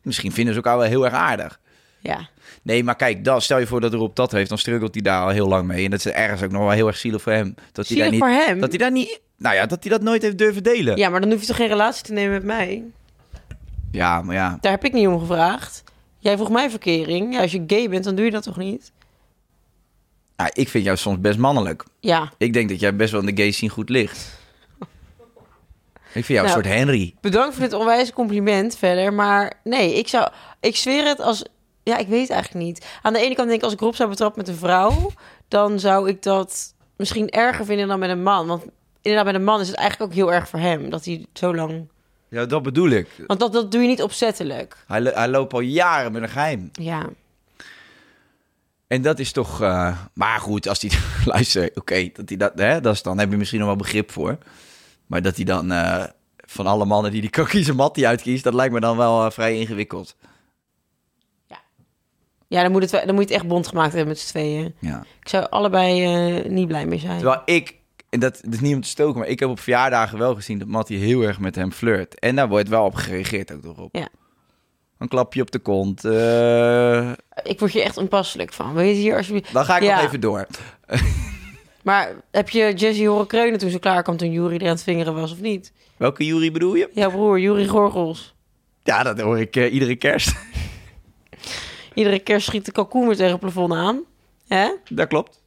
[SPEAKER 2] Misschien vinden ze elkaar wel heel erg aardig.
[SPEAKER 3] Ja.
[SPEAKER 2] Nee, maar kijk, dan, stel je voor dat Rob dat heeft, dan struggelt hij daar al heel lang mee. En dat is ergens ook nog wel heel erg zielig voor hem. Dat hij
[SPEAKER 3] Zielig
[SPEAKER 2] daar niet,
[SPEAKER 3] voor hem?
[SPEAKER 2] Dat hij daar niet. Nou ja, dat hij dat nooit heeft durven delen.
[SPEAKER 3] ja, maar dan hoef je toch geen relatie te nemen met mij?
[SPEAKER 2] Ja, maar ja.
[SPEAKER 3] Daar heb ik niet om gevraagd. Jij vroeg mij verkering. Ja, als je gay bent, dan doe je dat toch niet?
[SPEAKER 2] Nou, ik vind jou soms best mannelijk.
[SPEAKER 3] Ja.
[SPEAKER 2] Ik denk dat jij best wel in de gay scene goed ligt. Ik vind jou
[SPEAKER 3] Nou.
[SPEAKER 2] een soort Henry.
[SPEAKER 3] Bedankt voor dit onwijze compliment verder. Maar nee, ik zou... Ik zweer het als... Ja, ik weet het eigenlijk niet. Aan de ene kant denk ik, als ik Rob zou betrappen met een vrouw... dan zou ik dat misschien erger vinden dan met een man. Want inderdaad, met een man is het eigenlijk ook heel erg voor hem... dat hij zo lang...
[SPEAKER 2] Ja, dat bedoel ik.
[SPEAKER 3] Want dat, dat doe je niet opzettelijk.
[SPEAKER 2] Hij, lo- hij loopt al jaren met een geheim.
[SPEAKER 3] Ja.
[SPEAKER 2] En dat is toch. eh, maar goed, als die. Luister, oké, dat die dat. Hè, dat is dan heb je misschien nog wel begrip voor. Maar dat hij dan. eh, van alle mannen die die kakkies mattie uitkiest, dat lijkt me dan wel eh, vrij ingewikkeld.
[SPEAKER 3] Ja, dan moet, het, wel- dan moet je het echt bond gemaakt hebben met z'n tweeën.
[SPEAKER 2] Ja.
[SPEAKER 3] Ik zou allebei eh, niet blij mee zijn.
[SPEAKER 2] Terwijl ik. En dat, dat is niet om te stoken, maar ik heb op verjaardagen wel gezien dat Mattie heel erg met hem flirt. En daar wordt wel op gereageerd ook nog op.
[SPEAKER 3] Ja.
[SPEAKER 2] Een klapje op de kont. eh,
[SPEAKER 3] Ik word hier echt onpasselijk van. Weet je hier alsjeblieft...
[SPEAKER 2] dan ga ik
[SPEAKER 3] Ja.
[SPEAKER 2] nog even door.
[SPEAKER 3] Maar heb je Jesse horen kreunen toen ze klaar kwam toen Jury er aan het vingeren was of niet?
[SPEAKER 2] Welke jury bedoel je?
[SPEAKER 3] Jouw broer, Jury Gorgels.
[SPEAKER 2] Ja, dat hoor ik eh, iedere kerst.
[SPEAKER 3] Iedere kerst schiet de kalkoen weer tegen het plafond aan. Hè?
[SPEAKER 2] dat klopt.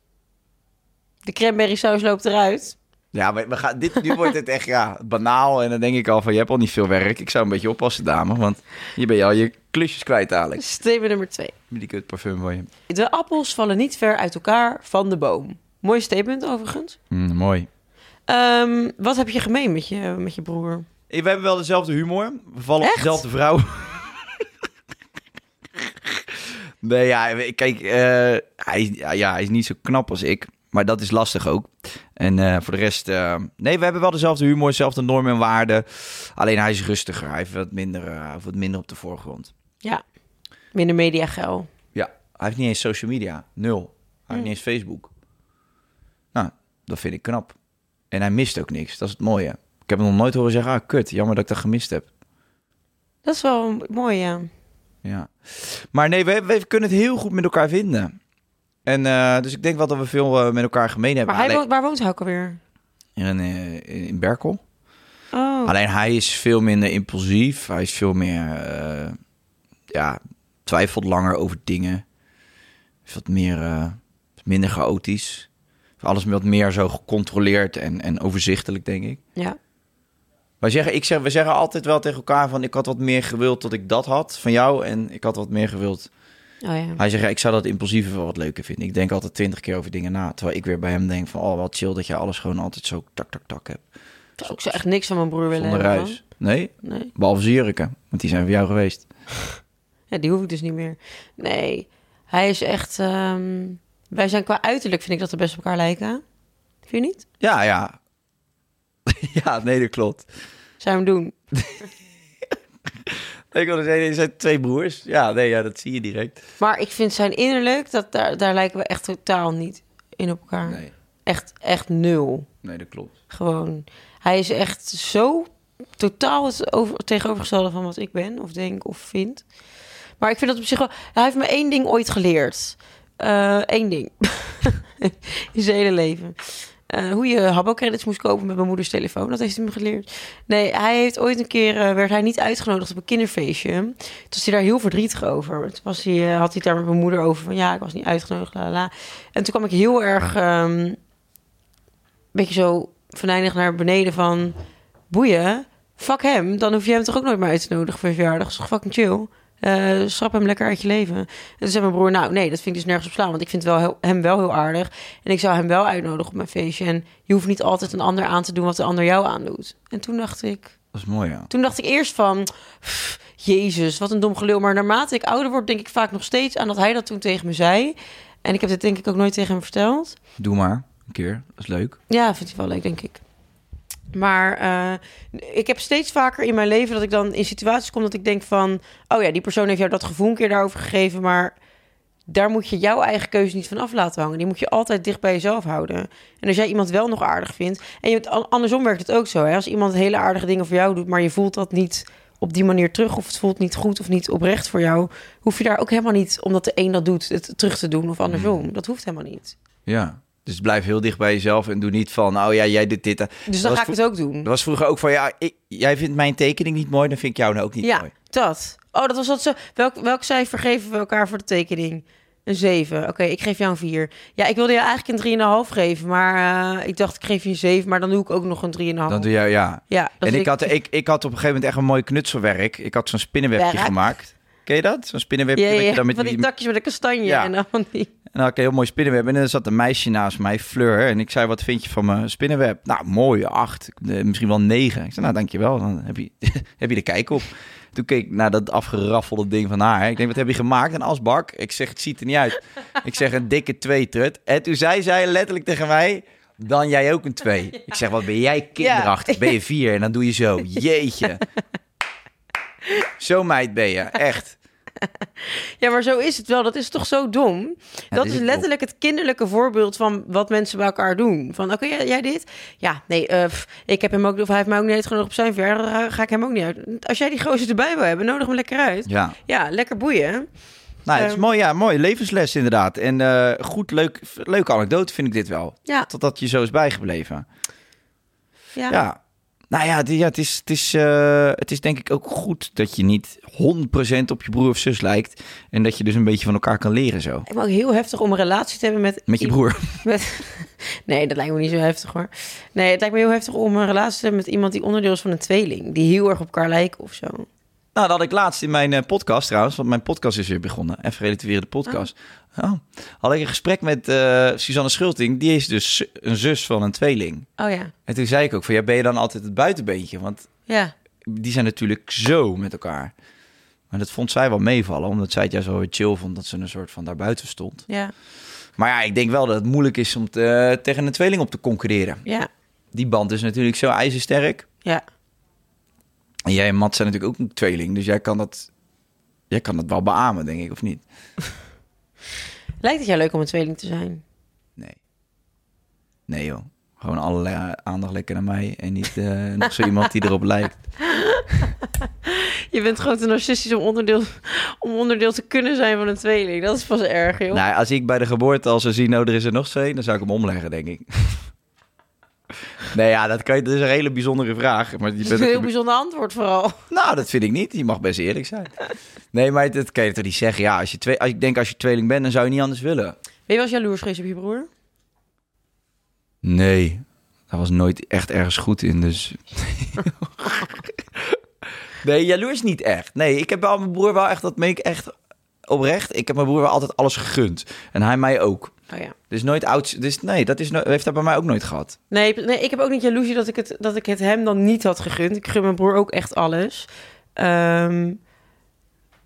[SPEAKER 3] De cranberry saus loopt eruit.
[SPEAKER 2] Ja, maar we gaan, dit, nu wordt het echt ja, banaal. En dan denk ik al van, je hebt al niet veel werk. Ik zou een beetje oppassen, dame. Want je bent al je klusjes kwijt, Alex.
[SPEAKER 3] Statement nummer twee.
[SPEAKER 2] Met die kut parfum van je.
[SPEAKER 3] De appels vallen niet ver uit elkaar van de boom. Mooi statement overigens.
[SPEAKER 2] Mm, mooi.
[SPEAKER 3] Ehm, wat heb je gemeen met je, met je broer?
[SPEAKER 2] Hey, We hebben wel dezelfde humor. We vallen op
[SPEAKER 3] Echt?
[SPEAKER 2] dezelfde vrouw. nee, ja, we- kijk, eh, hij, ja, ja, hij is niet zo knap als ik. Maar dat is lastig ook. En eh, voor de rest, eh, nee, we hebben wel dezelfde humor, dezelfde normen en waarden. Alleen hij is rustiger. Hij heeft wat minder, eh, hij heeft wat minder op de voorgrond.
[SPEAKER 3] Ja, minder mediageil.
[SPEAKER 2] Ja, hij heeft niet eens social media. Nul. Hij heeft niet eens
[SPEAKER 3] Hmm.
[SPEAKER 2] Facebook. Nou, dat vind ik knap. En hij mist ook niks. Dat is het mooie. Ik heb hem nog nooit horen zeggen, ah, kut, jammer dat ik dat gemist heb.
[SPEAKER 3] Dat is wel mooi, ja.
[SPEAKER 2] Ja. Maar nee, we, we kunnen het heel goed met elkaar vinden. En eh, dus ik denk wel dat we veel eh, met elkaar gemeen hebben.
[SPEAKER 3] Maar hij
[SPEAKER 2] Alleen-
[SPEAKER 3] woont, waar woont hij ook alweer?
[SPEAKER 2] in, eh, in Berkel.
[SPEAKER 3] Oh,
[SPEAKER 2] Alleen hij is veel minder impulsief. Hij is veel meer, eh, ja, twijfelt langer over dingen. Is wat meer, eh, minder chaotisch. Alles wat meer zo gecontroleerd en, en overzichtelijk, denk ik.
[SPEAKER 3] ja.
[SPEAKER 2] Wij zeggen, ik zeg, we zeggen altijd wel tegen elkaar van... ik had wat meer gewild dat ik dat had van jou... en ik had wat meer gewild
[SPEAKER 3] Oh, ja.
[SPEAKER 2] Hij zegt, ja, ik zou dat impulsieve wel wat leuker vinden. Ik denk altijd twintig keer over dingen na. Terwijl ik weer bij hem denk van, oh, wat chill dat je alles gewoon altijd zo tak, tak, tak hebt.
[SPEAKER 3] Ik zou echt niks van mijn broer willen
[SPEAKER 2] Zonder
[SPEAKER 3] hebben,
[SPEAKER 2] ruis. Nee,
[SPEAKER 3] man. Nee.
[SPEAKER 2] behalve Zuriken, want die zijn voor jou geweest.
[SPEAKER 3] Ja, die hoef ik dus niet meer. Nee, hij is echt... ehm, Wij zijn qua uiterlijk, vind ik dat we best op elkaar lijken. Vind je niet?
[SPEAKER 2] Ja, ja. ja, nee, dat klopt.
[SPEAKER 3] Zou hem doen.
[SPEAKER 2] Ik wilde zeggen, er zijn twee broers. Ja, nee, ja, dat zie je direct.
[SPEAKER 3] Maar ik vind zijn innerlijk, dat, daar, daar lijken we echt totaal niet in op elkaar.
[SPEAKER 2] Nee.
[SPEAKER 3] Echt, echt nul.
[SPEAKER 2] Nee, dat klopt.
[SPEAKER 3] Gewoon. Hij is echt zo totaal het over, tegenovergestelde van wat ik ben, of denk, of vind. Maar ik vind dat op zich wel... Hij heeft me één ding ooit geleerd. Eén ding. In zijn hele leven. Eh, hoe je habbo-credits moest kopen met mijn moeders telefoon. Dat heeft hij me geleerd. Nee, hij heeft ooit een keer... eh, werd hij niet uitgenodigd op een kinderfeestje. Toen was hij daar heel verdrietig over. Toen was hij, eh, had hij het daar met mijn moeder over. Van ja, ik was niet uitgenodigd, la la, la. En toen kwam ik heel erg... ehm, beetje zo venijnig naar beneden van... Boeien, fuck hem. Dan hoef je hem toch ook nooit meer uit te nodigen voor je verjaardag. Dat is toch fucking chill. Eh schrap hem lekker uit je leven. En toen zei mijn broer, nou nee, dat vind ik dus nergens op slaan. Want ik vind wel heel- hem wel heel aardig. En ik zou hem wel uitnodigen op mijn feestje. En je hoeft niet altijd een ander aan te doen wat de ander jou aandoet. En toen dacht ik...
[SPEAKER 2] Dat is mooi, ja.
[SPEAKER 3] Toen dacht ik eerst van... "Pff, Jezus, wat een dom gelul. Maar naarmate ik ouder word, denk ik vaak nog steeds aan dat hij dat toen tegen me zei. En ik heb dit denk ik ook nooit tegen hem verteld.
[SPEAKER 2] Doe maar, een keer. Dat is leuk.
[SPEAKER 3] Ja, vindt hij wel leuk, denk ik. Maar eh, ik heb steeds vaker in mijn leven dat ik dan in situaties kom dat ik denk van... oh ja, die persoon heeft jou dat gevoel een keer daarover gegeven... maar daar moet je jouw eigen keuze niet van af laten hangen. Die moet je altijd dicht bij jezelf houden. En als jij iemand wel nog aardig vindt... en je, an- andersom werkt het ook zo. Hè? Als iemand hele aardige dingen voor jou doet... maar je voelt dat niet op die manier terug... of het voelt niet goed of niet oprecht voor jou... hoef je daar ook helemaal niet, omdat de een dat doet... het terug te doen of
[SPEAKER 2] Hmm.
[SPEAKER 3] andersom. Dat hoeft helemaal niet.
[SPEAKER 2] Ja. Dus blijf heel dicht bij jezelf en doe niet van, oh ja, jij doet dit. eh.
[SPEAKER 3] Dus
[SPEAKER 2] Dat
[SPEAKER 3] dan
[SPEAKER 2] was
[SPEAKER 3] ga ik
[SPEAKER 2] vro-
[SPEAKER 3] het ook doen.
[SPEAKER 2] Dat was vroeger ook van, ja, ik, jij vindt mijn tekening niet mooi, dan vind ik jou nou ook niet
[SPEAKER 3] ja,
[SPEAKER 2] mooi.
[SPEAKER 3] dat. Oh, dat was dat zo. Welk, welk cijfer geven we elkaar voor de tekening? Een 7. Oké, ik geef jou een 4. Ja, ik wilde je eigenlijk een 3,5 geven, maar eh, ik dacht ik geef je een 7, maar dan doe ik ook nog een 3,5.
[SPEAKER 2] Dan doe jij, ja.
[SPEAKER 3] Ja, dat
[SPEAKER 2] en
[SPEAKER 3] vind
[SPEAKER 2] ik had, ik, ik had op een gegeven moment echt een mooi knutselwerk. Ik had zo'n spinnenwebje
[SPEAKER 3] Werk.
[SPEAKER 2] gemaakt. Ken je dat? Zo'n spinnenwebje.
[SPEAKER 3] ja, ja,
[SPEAKER 2] dat je
[SPEAKER 3] ja,
[SPEAKER 2] dan met
[SPEAKER 3] van die takjes met een kastanje
[SPEAKER 2] Ja.
[SPEAKER 3] en dan van die...
[SPEAKER 2] En dan had ik een heel mooi spinnenweb. En dan zat een meisje naast mij, Fleur. En ik zei, wat vind je van mijn spinnenweb? Nou, mooi, acht. eh, Misschien wel negen. Ik zei, nou, dankjewel. Dan heb je, heb je de kijk op. Toen keek ik naar dat afgeraffelde ding van haar. Ik denk, wat heb je gemaakt? Een asbak? Ik zeg, het ziet er niet uit. Ik zeg, een dikke twee, trut. En toen zei zij letterlijk tegen mij... Dan jij ook een twee. Ik zeg, wat ben jij kinderachtig? Ben je vier? En dan doe je zo. Jeetje. Zo meid ben je, echt.
[SPEAKER 3] Ja, maar zo is het wel. Dat is toch zo dom? dat
[SPEAKER 2] is
[SPEAKER 3] is,
[SPEAKER 2] ook
[SPEAKER 3] letterlijk het kinderlijke voorbeeld van wat mensen bij elkaar doen. Van, oké, jij, jij dit? Ja, nee, eh, pff, ik heb hem ook... Of hij heeft mij ook niet uitgenodigd op zijn verjaardag. dan Ga ik hem ook niet uit. Als jij die gozer erbij wil hebben, nodig hem lekker uit.
[SPEAKER 2] Ja.
[SPEAKER 3] Ja, lekker boeien.
[SPEAKER 2] Nou, het is
[SPEAKER 3] Ehm.
[SPEAKER 2] mooi, ja, mooi. Levensles inderdaad. En eh, goed, leuk, f- leuke anekdote vind ik dit wel.
[SPEAKER 3] Ja.
[SPEAKER 2] Totdat je zo is bijgebleven.
[SPEAKER 3] Ja.
[SPEAKER 2] Ja. Nou ja, die- ja het, is, het, is, eh, het is denk ik ook goed dat je niet 100% op je broer of zus lijkt. En dat je dus een beetje van elkaar kan leren zo.
[SPEAKER 3] Ik ben ook heel heftig om een relatie te hebben met...
[SPEAKER 2] Met je
[SPEAKER 3] i-
[SPEAKER 2] broer.
[SPEAKER 3] Met... Nee, dat lijkt me niet zo heftig hoor. Nee, het lijkt me heel heftig om een relatie te hebben met iemand die onderdeel is van een tweeling. Die heel erg op elkaar lijken of zo.
[SPEAKER 2] Nou, dat had ik laatst in mijn eh, podcast trouwens, want mijn podcast is weer begonnen. Even relativeren de podcast. Oh. Had ik een gesprek met eh, Suzanne Schulting, die is dus z- een zus van een tweeling.
[SPEAKER 3] Oh ja.
[SPEAKER 2] En toen zei ik ook van, ja, ben je dan altijd het buitenbeentje? Want
[SPEAKER 3] Ja.
[SPEAKER 2] die zijn natuurlijk zo met elkaar. Maar dat vond zij wel meevallen, omdat zij het juist wel weer chill vond dat ze een soort van daarbuiten stond.
[SPEAKER 3] Ja.
[SPEAKER 2] Maar ja, ik denk wel dat het moeilijk is om te- eh, tegen een tweeling op te concurreren.
[SPEAKER 3] Ja.
[SPEAKER 2] Die band is natuurlijk zo ijzersterk.
[SPEAKER 3] Ja.
[SPEAKER 2] En jij en Matt zijn natuurlijk ook een tweeling, dus jij kan dat, jij kan dat wel beamen, denk ik, of niet?
[SPEAKER 3] Lijkt het jou leuk om een tweeling te zijn?
[SPEAKER 2] Nee. Nee, joh. Gewoon alle eh, aandacht lekker naar mij en niet eh, nog zo iemand die erop lijkt.
[SPEAKER 3] Je bent gewoon te narcistisch om onderdeel, om onderdeel te kunnen zijn van een tweeling. Dat is pas erg, joh.
[SPEAKER 2] Nou, als ik bij de geboorte al zou zien, nou, er is er nog twee, dan zou ik hem omleggen, denk ik. nee, ja, dat, kan je, dat is een hele bijzondere vraag. Maar je
[SPEAKER 3] dat
[SPEAKER 2] bent
[SPEAKER 3] is een heel
[SPEAKER 2] natuurlijk-
[SPEAKER 3] bijzonder antwoord vooral.
[SPEAKER 2] Nou, dat vind ik niet. Je mag best eerlijk zijn. Nee, maar dat kan je toch niet zeggen. Ja, als je twee, als, ik denk als je tweeling bent, dan zou je niet anders willen.
[SPEAKER 3] Ben je wel eens jaloers geweest op je broer?
[SPEAKER 2] Nee, daar was nooit echt ergens goed in, dus... nee, jaloers niet echt. Nee, ik heb wel mijn broer wel echt, dat meen ik echt oprecht. Ik heb mijn broer wel altijd alles gegund. En hij mij ook.
[SPEAKER 3] Oh ja.
[SPEAKER 2] Dus nooit oud... Dus nee, dat is no- heeft dat bij mij ook nooit gehad.
[SPEAKER 3] Nee, nee, ik heb ook niet jaloezie dat ik, het, dat ik het hem dan niet had gegund. Ik gun mijn broer ook echt alles. Ehm,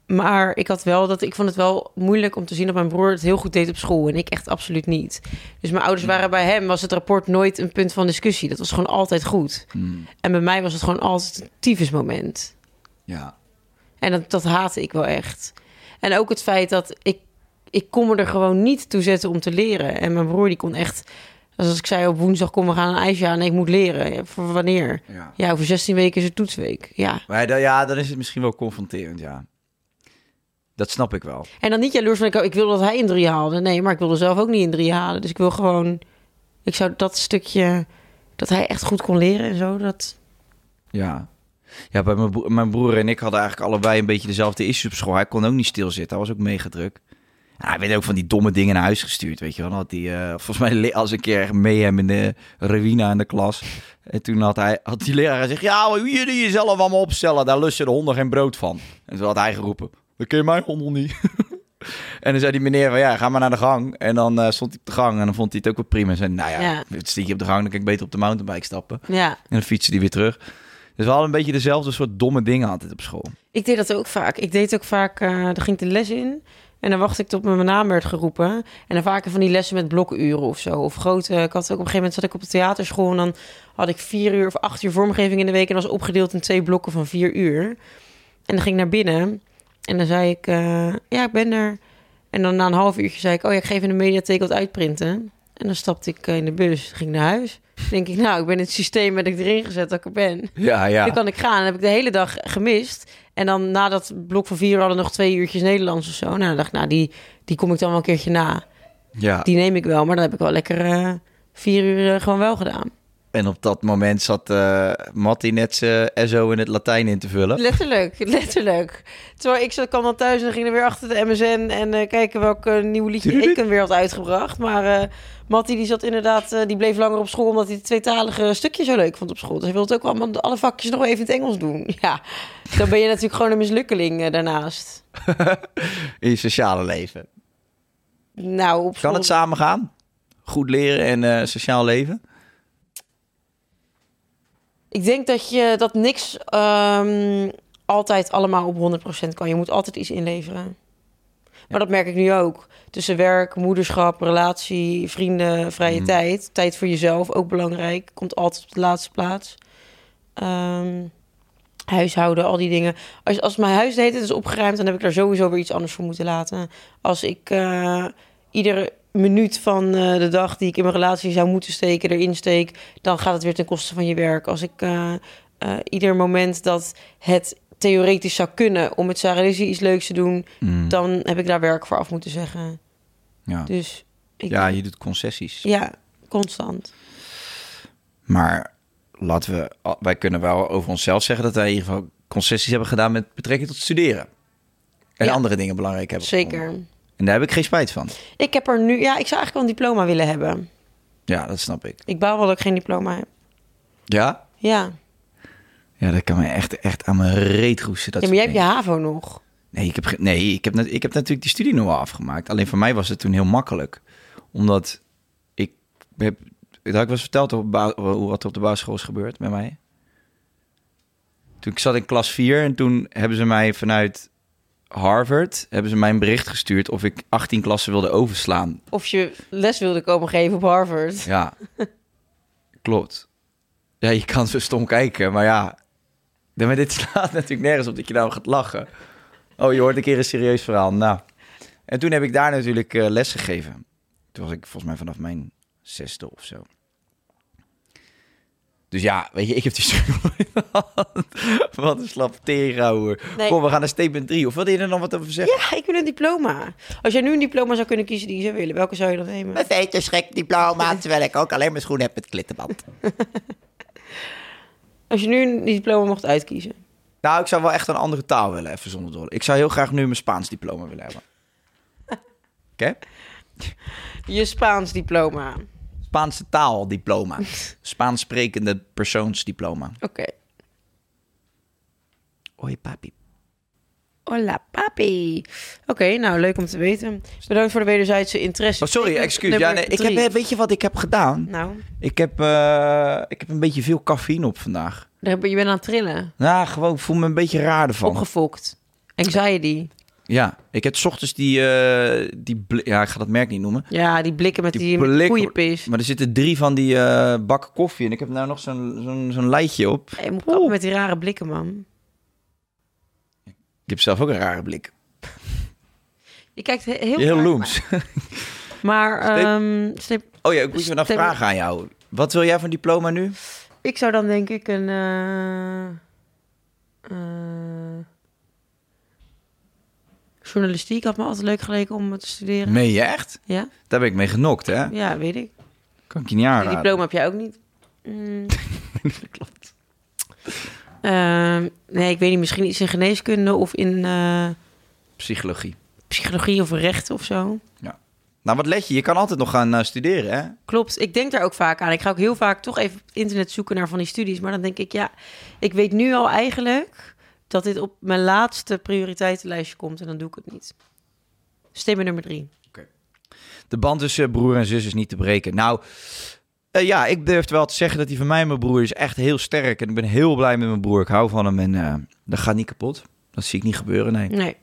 [SPEAKER 3] maar ik had wel dat ik vond het wel moeilijk om te zien dat mijn broer het heel goed deed op school en ik echt absoluut niet. Dus mijn ouders waren bij hem was het rapport nooit een punt van discussie. Dat was gewoon altijd goed. En bij mij was het gewoon altijd een tyfusmoment.
[SPEAKER 2] Ja.
[SPEAKER 3] En dat, dat haatte ik wel echt. En ook het feit dat ik, ik kon me er gewoon niet toe zetten om te leren. En mijn broer die kon echt, als ik zei op woensdag kom we gaan een ijsje aan en ik moet leren. Ja, voor wanneer?
[SPEAKER 2] Ja.
[SPEAKER 3] Ja, over 16 weken is het toetsweek. Ja.
[SPEAKER 2] Maar dan, ja, dan is het misschien wel confronterend, ja. Dat snap ik wel.
[SPEAKER 3] En dan niet jaloers van ik, oh, ik wil dat hij een drie haalde. Nee, maar ik wilde zelf ook niet een drie halen. Dus ik wil gewoon, ik zou dat stukje dat hij echt goed kon leren en zo. Dat,
[SPEAKER 2] Ja. Ja, bij mijn, broer, mijn broer en ik hadden eigenlijk allebei een beetje dezelfde issues op school. Hij kon ook niet stilzitten. Hij was ook mega druk. En hij werd ook van die domme dingen naar huis gestuurd, weet je wel. Dan had hij, eh, volgens mij le- als een keer echt mee hem in de ruïna in de klas. En toen had, hij, had die leraar gezegd, ja, maar jullie jezelf allemaal opstellen. Daar lusten de honden geen brood van. En toen had hij geroepen, dat ken je mijn hondel niet. en dan zei die meneer van, ja, ga maar naar de gang. En dan eh, stond hij op de gang en dan vond hij het ook wel prima. En zei, nou ja,
[SPEAKER 3] Ja.
[SPEAKER 2] het stiek je op de gang, dan kan ik beter op de mountainbike stappen.
[SPEAKER 3] ja.
[SPEAKER 2] En dan fietsen die weer terug. Dus we hadden een beetje dezelfde soort domme dingen altijd op school.
[SPEAKER 3] Ik deed dat ook vaak. Ik deed ook vaak, eh dan ging ik de les in en dan wachtte ik tot mijn naam werd geroepen. En dan vaker van die lessen met blokuren of zo. Of grote, ik had ook op een gegeven moment zat ik op de theaterschool en dan had ik vier uur of acht uur vormgeving in de week en dat was opgedeeld in twee blokken van vier uur. En dan ging ik naar binnen en dan zei ik, eh, ja, ik ben er. En dan na een half uurtje zei ik, oh ja, ik geef in de mediatheek wat uitprinten. En dan stapte ik eh, in de bus, ging naar huis. Dan denk ik, nou, ik ben in het systeem ben ik erin gezet dat ik er ben.
[SPEAKER 2] Ja, ja.
[SPEAKER 3] Dan kan ik gaan. Dan heb ik de hele dag gemist. En dan na dat blok van vier uur hadden we nog twee uurtjes Nederlands of zo. Nou, dan dacht ik, nou, die, die kom ik dan wel een keertje na.
[SPEAKER 2] ja.
[SPEAKER 3] Die neem ik wel, maar dan heb ik wel lekker eh, vier uur eh, gewoon wel gedaan.
[SPEAKER 2] En op dat moment zat eh Matti net zijn SO in het Latijn in te vullen.
[SPEAKER 3] Letterlijk, letterlijk. Terwijl ik zat, kwam dan thuis en dan ging er weer achter de MSN... en eh, kijken welk eh, nieuw liedje ik hem weer had uitgebracht. Maar eh, Matti die zat inderdaad, eh, die bleef langer op school... omdat hij het tweetalige stukje zo leuk vond op school. Dus hij wilde het ook allemaal, alle vakjes nog wel even in het Engels doen. Ja, dan ben je natuurlijk gewoon een mislukkeling eh, daarnaast.
[SPEAKER 2] In je sociale leven.
[SPEAKER 3] Nou, op
[SPEAKER 2] Kan
[SPEAKER 3] school-
[SPEAKER 2] het samen gaan? Goed leren en eh, sociaal leven?
[SPEAKER 3] Ik denk dat je dat niks ehm, altijd allemaal op 100% kan. Je moet altijd iets inleveren. Maar dat merk ik nu ook. Tussen werk, moederschap, relatie, vrienden,
[SPEAKER 2] Mhm.
[SPEAKER 3] vrije tijd. Tijd voor jezelf, ook belangrijk. Komt altijd op de laatste plaats. Ehm, huishouden, al die dingen. Als, als mijn huis de hele tijd is opgeruimd... dan heb ik daar sowieso weer iets anders voor moeten laten. Als ik eh, iedere minuut van eh, de dag... die ik in mijn relatie zou moeten steken, erin steek... dan gaat het weer ten koste van je werk. Als ik eh, eh, ieder moment dat het theoretisch zou kunnen om met Sarah Lizzie iets leuks te doen, dan heb ik daar werk voor af moeten zeggen.
[SPEAKER 2] Ja.
[SPEAKER 3] Dus ik,
[SPEAKER 2] ja, je doet concessies.
[SPEAKER 3] ja, constant.
[SPEAKER 2] Maar laten we, wij kunnen wel over onszelf zeggen dat wij in ieder geval concessies hebben gedaan met betrekking tot studeren. En
[SPEAKER 3] Ja.
[SPEAKER 2] andere dingen belangrijk hebben. gevonden.
[SPEAKER 3] Zeker.
[SPEAKER 2] En daar heb ik geen spijt van.
[SPEAKER 3] Ik heb er nu, ja, ik zou eigenlijk wel een diploma willen hebben.
[SPEAKER 2] Ja, dat snap ik.
[SPEAKER 3] Ik baal wel dat ik geen diploma heb.
[SPEAKER 2] Ja?
[SPEAKER 3] Ja,
[SPEAKER 2] Ja, dat kan me echt, echt aan mijn reet roesten. Dat
[SPEAKER 3] ja maar jij
[SPEAKER 2] soort
[SPEAKER 3] hebt je
[SPEAKER 2] dingen.
[SPEAKER 3] HAVO nog.
[SPEAKER 2] Nee, ik heb, ge- nee ik, heb, net- ik heb natuurlijk die studie nog wel afgemaakt. Alleen voor mij was het toen heel makkelijk. Omdat ik heb... Dat had ik wel eens verteld op ba- hoe wat er op de basisschool is gebeurd bij mij. Toen ik zat in klas 4 en toen hebben ze mij vanuit Harvard... hebben ze mij een bericht gestuurd of ik 18 klassen wilde overslaan.
[SPEAKER 3] Of je les wilde komen geven op Harvard.
[SPEAKER 2] Ja, klopt. Ja, je kan zo stom kijken, maar ja... Nee, Maar dit slaat natuurlijk nergens op dat je nou gaat lachen. Oh, je hoort een keer een serieus verhaal. Nou, en toen heb ik daar natuurlijk eh, les gegeven. Toen was ik volgens mij vanaf mijn zesde of zo. Dus ja, weet je, ik heb die studie nog in de hand. Wat een slap tegenhouden.
[SPEAKER 3] Nee.
[SPEAKER 2] Kom, we gaan naar statement 3. Of wil je er nog wat over zeggen?
[SPEAKER 3] Ja, ik wil een diploma. Als jij nu een diploma zou kunnen kiezen die je zou willen, welke zou je dan nemen?
[SPEAKER 2] feetje schrik diploma, terwijl ik ook alleen mijn schoenen heb met klittenband.
[SPEAKER 3] Als je nu een diploma mocht uitkiezen.
[SPEAKER 2] Nou, ik zou wel echt een andere taal willen, even zonder dolle. Ik zou heel graag nu mijn Spaans diploma willen hebben. Oké?
[SPEAKER 3] Je Spaans diploma. Oké.
[SPEAKER 2] Spaanse taaldiploma. Spaans sprekende persoonsdiploma. Oei, papi.
[SPEAKER 3] Hola, papi. Oké, nou, leuk om te weten. Bedankt voor de wederzijdse interesse.
[SPEAKER 2] Oh, sorry, excuus. Ja,
[SPEAKER 3] Nummer
[SPEAKER 2] nee, ik heb,
[SPEAKER 3] drie.
[SPEAKER 2] eh, weet je wat ik heb gedaan?
[SPEAKER 3] Nou,
[SPEAKER 2] Ik, heb, eh, ik heb een beetje veel cafeïne op vandaag.
[SPEAKER 3] daar heb- je bent aan het trillen.
[SPEAKER 2] Nou, gewoon ik voel me een beetje raar ervan.
[SPEAKER 3] Opgefokt. Anxiety.
[SPEAKER 2] ja, ik heb 's ochtends die... eh, die bl- ja, ik ga dat merk niet noemen.
[SPEAKER 3] Ja, die blikken met die,
[SPEAKER 2] blik-
[SPEAKER 3] koeienpis.
[SPEAKER 2] Maar er zitten drie van die eh, bakken koffie. En ik heb nou nog zo'n zo'n zo'n lijtje op.
[SPEAKER 3] Hey, moet kappen met die rare blikken, man.
[SPEAKER 2] Ik heb zelf ook een rare blik.
[SPEAKER 3] Je kijkt he- heel,
[SPEAKER 2] Heel
[SPEAKER 3] raar.
[SPEAKER 2] looms.
[SPEAKER 3] Maar
[SPEAKER 2] Stip.
[SPEAKER 3] ehm, Stip,
[SPEAKER 2] Oh ja, ik moet je nog
[SPEAKER 3] Stem-
[SPEAKER 2] vragen aan jou. Wat wil jij van diploma nu?
[SPEAKER 3] ik zou dan denk ik een... eh, eh, journalistiek had me altijd leuk geleken om te studeren.
[SPEAKER 2] Meen je echt?
[SPEAKER 3] Ja?
[SPEAKER 2] Daar ben ik mee genokt, hè?
[SPEAKER 3] ja, weet ik.
[SPEAKER 2] Kan ik je niet
[SPEAKER 3] Die
[SPEAKER 2] aanraden.
[SPEAKER 3] diploma heb jij ook niet. Mm. Ehm, nee, ik weet niet. Misschien iets in geneeskunde of in eh,
[SPEAKER 2] Psychologie.
[SPEAKER 3] psychologie of recht of zo.
[SPEAKER 2] Ja. Nou, wat let je? Je kan altijd nog gaan eh, studeren, hè?
[SPEAKER 3] Klopt, ik denk daar ook vaak aan. Ik ga ook heel vaak toch even op internet zoeken naar van die studies. Maar dan denk ik, ja, ik weet nu al eigenlijk dat dit op mijn laatste prioriteitenlijstje komt. En dan doe ik het niet. Stemmen nummer drie.
[SPEAKER 2] De band tussen eh, broer en zus is niet te breken. Nou, eh, ja, ik durf wel te zeggen dat die van mij, mijn broer, is echt heel sterk. En ik ben heel blij met mijn broer. Ik hou van hem en eh, dat gaat niet kapot. Dat zie ik niet gebeuren, nee.
[SPEAKER 3] Nee.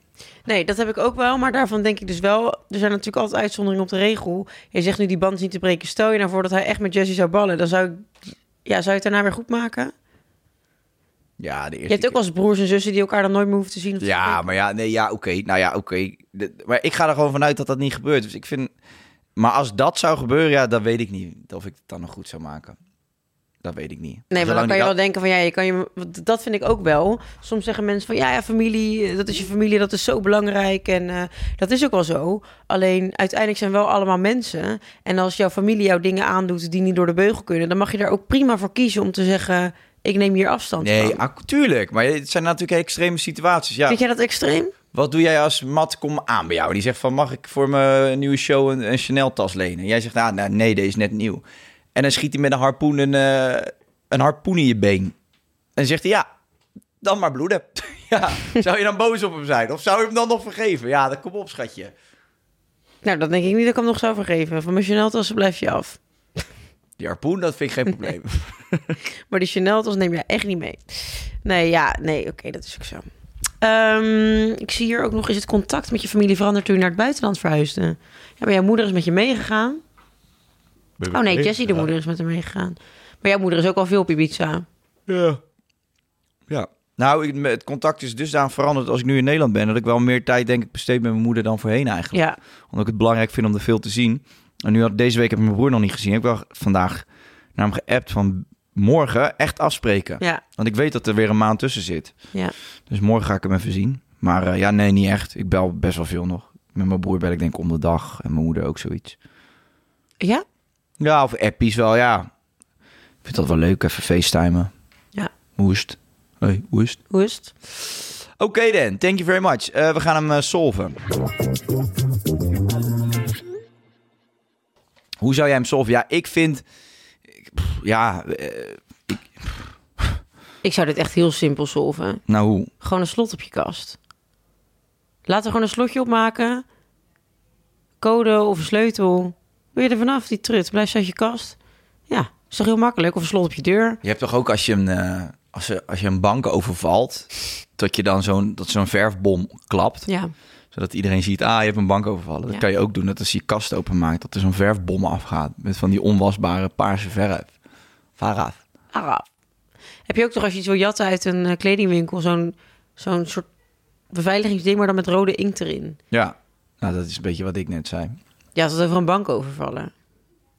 [SPEAKER 3] nee, dat heb ik ook wel. Maar daarvan denk ik dus wel, er zijn natuurlijk altijd uitzonderingen op de regel. Je zegt nu die band is niet te breken. Stel je nou voor dat hij echt met Jesse zou ballen. Dan zou ik, ja, zou je het daarna weer goed maken?
[SPEAKER 2] Ja, de eerste
[SPEAKER 3] Je hebt ook
[SPEAKER 2] keer-
[SPEAKER 3] wel eens broers en zussen die elkaar dan nooit meer hoeven te zien. of te
[SPEAKER 2] Ja,
[SPEAKER 3] spreken.
[SPEAKER 2] maar ja, nee, ja, oké. Nou ja, oké. De- Maar ik ga er gewoon vanuit dat dat niet gebeurt. Dus ik vind... Maar als dat zou gebeuren, ja, dan weet ik niet of ik het dan nog goed zou maken. Dat weet ik niet.
[SPEAKER 3] Nee, maar dan
[SPEAKER 2] Zolang
[SPEAKER 3] kan je
[SPEAKER 2] die-
[SPEAKER 3] wel denken van ja, je kan je, want dat vind ik ook wel. Soms zeggen mensen van ja, ja, familie, eh, dat is je familie, dat is zo belangrijk. En eh, dat is ook wel zo. Alleen uiteindelijk zijn we wel allemaal mensen. En als jouw familie jou dingen aandoet die niet door de beugel kunnen, dan mag je daar ook prima voor kiezen om te zeggen: ik neem hier afstand
[SPEAKER 2] Nee,
[SPEAKER 3] van.
[SPEAKER 2] ah, tuurlijk. Maar het zijn natuurlijk extreme situaties. Ja,
[SPEAKER 3] Vind jij dat extreem?
[SPEAKER 2] wat doe jij als Matt komt aan bij jou? Die zegt van, mag ik voor mijn nieuwe show een, een Chanel-tas lenen? Jij zegt, ah, nou, nee, deze is net nieuw. En dan schiet hij met een harpoen een, eh, een harpoen in je been. En dan zegt hij, ja, dan maar bloeden. ja, zou je dan boos op hem zijn? Of zou je hem dan nog vergeven? Ja, dat kom op, schatje.
[SPEAKER 3] Nou, dat denk ik niet dat ik hem nog zou vergeven. Van mijn Chanel-tas blijf je af.
[SPEAKER 2] Die harpoen, dat vind ik geen probleem.
[SPEAKER 3] Maar die Chanel-tas neem je echt niet mee. Nee, ja, nee, oké, dat is ook zo. Ehm, ik zie hier ook nog, is het contact met je familie veranderd toen je naar het buitenland verhuisde? Ja, maar jouw moeder is met je meegegaan. Oh nee, Jessie de moeder is met haar meegegaan. Maar jouw moeder is ook al veel op Ibiza.
[SPEAKER 2] Ja. Ja. Nou, ik- het contact is dusdanig veranderd als ik nu in Nederland ben... dat ik wel meer tijd, denk ik, besteed met mijn moeder dan voorheen eigenlijk.
[SPEAKER 3] Ja,
[SPEAKER 2] Omdat ik het belangrijk vind om er veel te zien. En nu had, deze week heb ik mijn broer nog niet gezien. Ik heb wel vandaag naar hem geappt van... morgen echt afspreken.
[SPEAKER 3] Ja,
[SPEAKER 2] Want ik weet dat er weer een maand tussen zit.
[SPEAKER 3] ja.
[SPEAKER 2] Dus morgen ga ik hem even zien. Maar eh, ja, nee, niet echt. Ik bel best wel veel nog. Met mijn broer bel ik denk ik om de dag. En mijn moeder ook zoiets.
[SPEAKER 3] Ja?
[SPEAKER 2] Ja, of appies wel, ja. Ik vind dat wel leuk, even facetimen.
[SPEAKER 3] Ja.
[SPEAKER 2] Hoe is het? Hey, hoe is het?
[SPEAKER 3] Hoe is het?
[SPEAKER 2] Oké dan, thank you very much. Eh, we gaan hem eh, solven. Hoe zou jij hem solven? Ja, ik vind... ik- pff, ja, eh,
[SPEAKER 3] Ik zou dit echt heel simpel solven.
[SPEAKER 2] nou hoe?
[SPEAKER 3] Gewoon een slot op je kast. Laat er gewoon een slotje op maken. Code of een sleutel. Wil je er vanaf, die trut? Blijf ze uit je kast. Ja, is toch heel makkelijk? Of een slot op je deur.
[SPEAKER 2] Je hebt toch ook als je een, eh, als je, als je een bank overvalt... dat je dan zo'n dat zo'n verfbom klapt...
[SPEAKER 3] Ja,
[SPEAKER 2] Zodat iedereen ziet, ah, je hebt een bank overvallen.
[SPEAKER 3] Ja.
[SPEAKER 2] Dat kan je ook doen, dat als je je kast openmaakt... dat er zo'n verfbom afgaat met van die onwasbare paarse verf. Varaaf.
[SPEAKER 3] Araf. Ah. Heb je ook toch als je iets wil jatten uit een eh, kledingwinkel... zo'n zo'n soort beveiligingsding, maar dan met rode inkt erin?
[SPEAKER 2] Ja, nou, dat is een beetje wat ik net zei.
[SPEAKER 3] Ja, het was over een bank overvallen.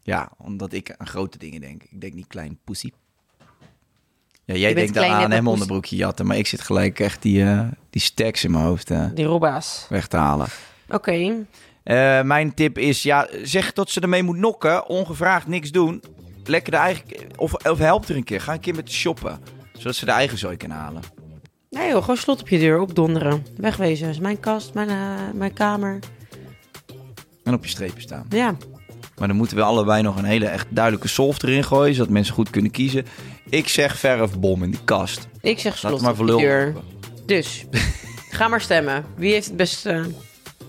[SPEAKER 2] Ja, omdat ik aan grote dingen denk. Ik denk niet klein poesie. Ja, jij
[SPEAKER 3] bent
[SPEAKER 2] denkt aan
[SPEAKER 3] klein,
[SPEAKER 2] aan
[SPEAKER 3] neppe
[SPEAKER 2] hem
[SPEAKER 3] poes.
[SPEAKER 2] onderbroekje jatten... maar ik zit gelijk echt die, eh, die stacks in mijn hoofd eh,
[SPEAKER 3] Die robba's.
[SPEAKER 2] weg te halen.
[SPEAKER 3] Oké,
[SPEAKER 2] Eh, mijn tip is, ja, zeg dat ze ermee moet nokken. Ongevraagd niks doen. Lekker de eigen... Of, of help er een keer. Ga een keer met shoppen. Zodat ze de eigen zooi kunnen halen.
[SPEAKER 3] Nee joh, gewoon slot op je deur, opdonderen. Wegwezen, Dat is mijn kast, mijn, eh, mijn kamer.
[SPEAKER 2] En op je strepen staan.
[SPEAKER 3] Ja,
[SPEAKER 2] Maar dan moeten we allebei nog een hele echt duidelijke solf erin gooien. Zodat mensen goed kunnen kiezen. Ik zeg verfbom in die kast.
[SPEAKER 3] ik zeg
[SPEAKER 2] Laat
[SPEAKER 3] slot
[SPEAKER 2] het maar
[SPEAKER 3] op
[SPEAKER 2] voor
[SPEAKER 3] je
[SPEAKER 2] lul.
[SPEAKER 3] deur. Dus, ga maar stemmen. Wie heeft het beste...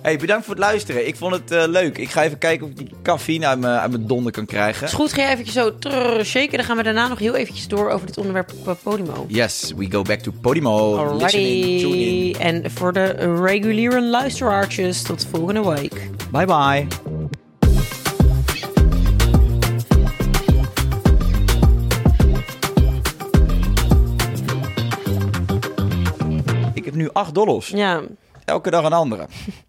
[SPEAKER 2] Hey, bedankt voor het luisteren. Ik vond het eh, leuk. Ik ga even kijken of ik die cafeïne uit mijn, uit mijn donder kan krijgen.
[SPEAKER 3] Is goed, ga je eventjes zo trrr, shaken. Dan gaan we daarna nog heel eventjes door over dit onderwerp eh, Podimo.
[SPEAKER 2] Yes, we go back to Podimo. Listening, tune in.
[SPEAKER 3] Alrighty. En voor de reguliere luisteraartjes, tot volgende week.
[SPEAKER 2] Bye bye. Ik heb nu 8 dollars.
[SPEAKER 3] Ja,
[SPEAKER 2] Elke dag een andere.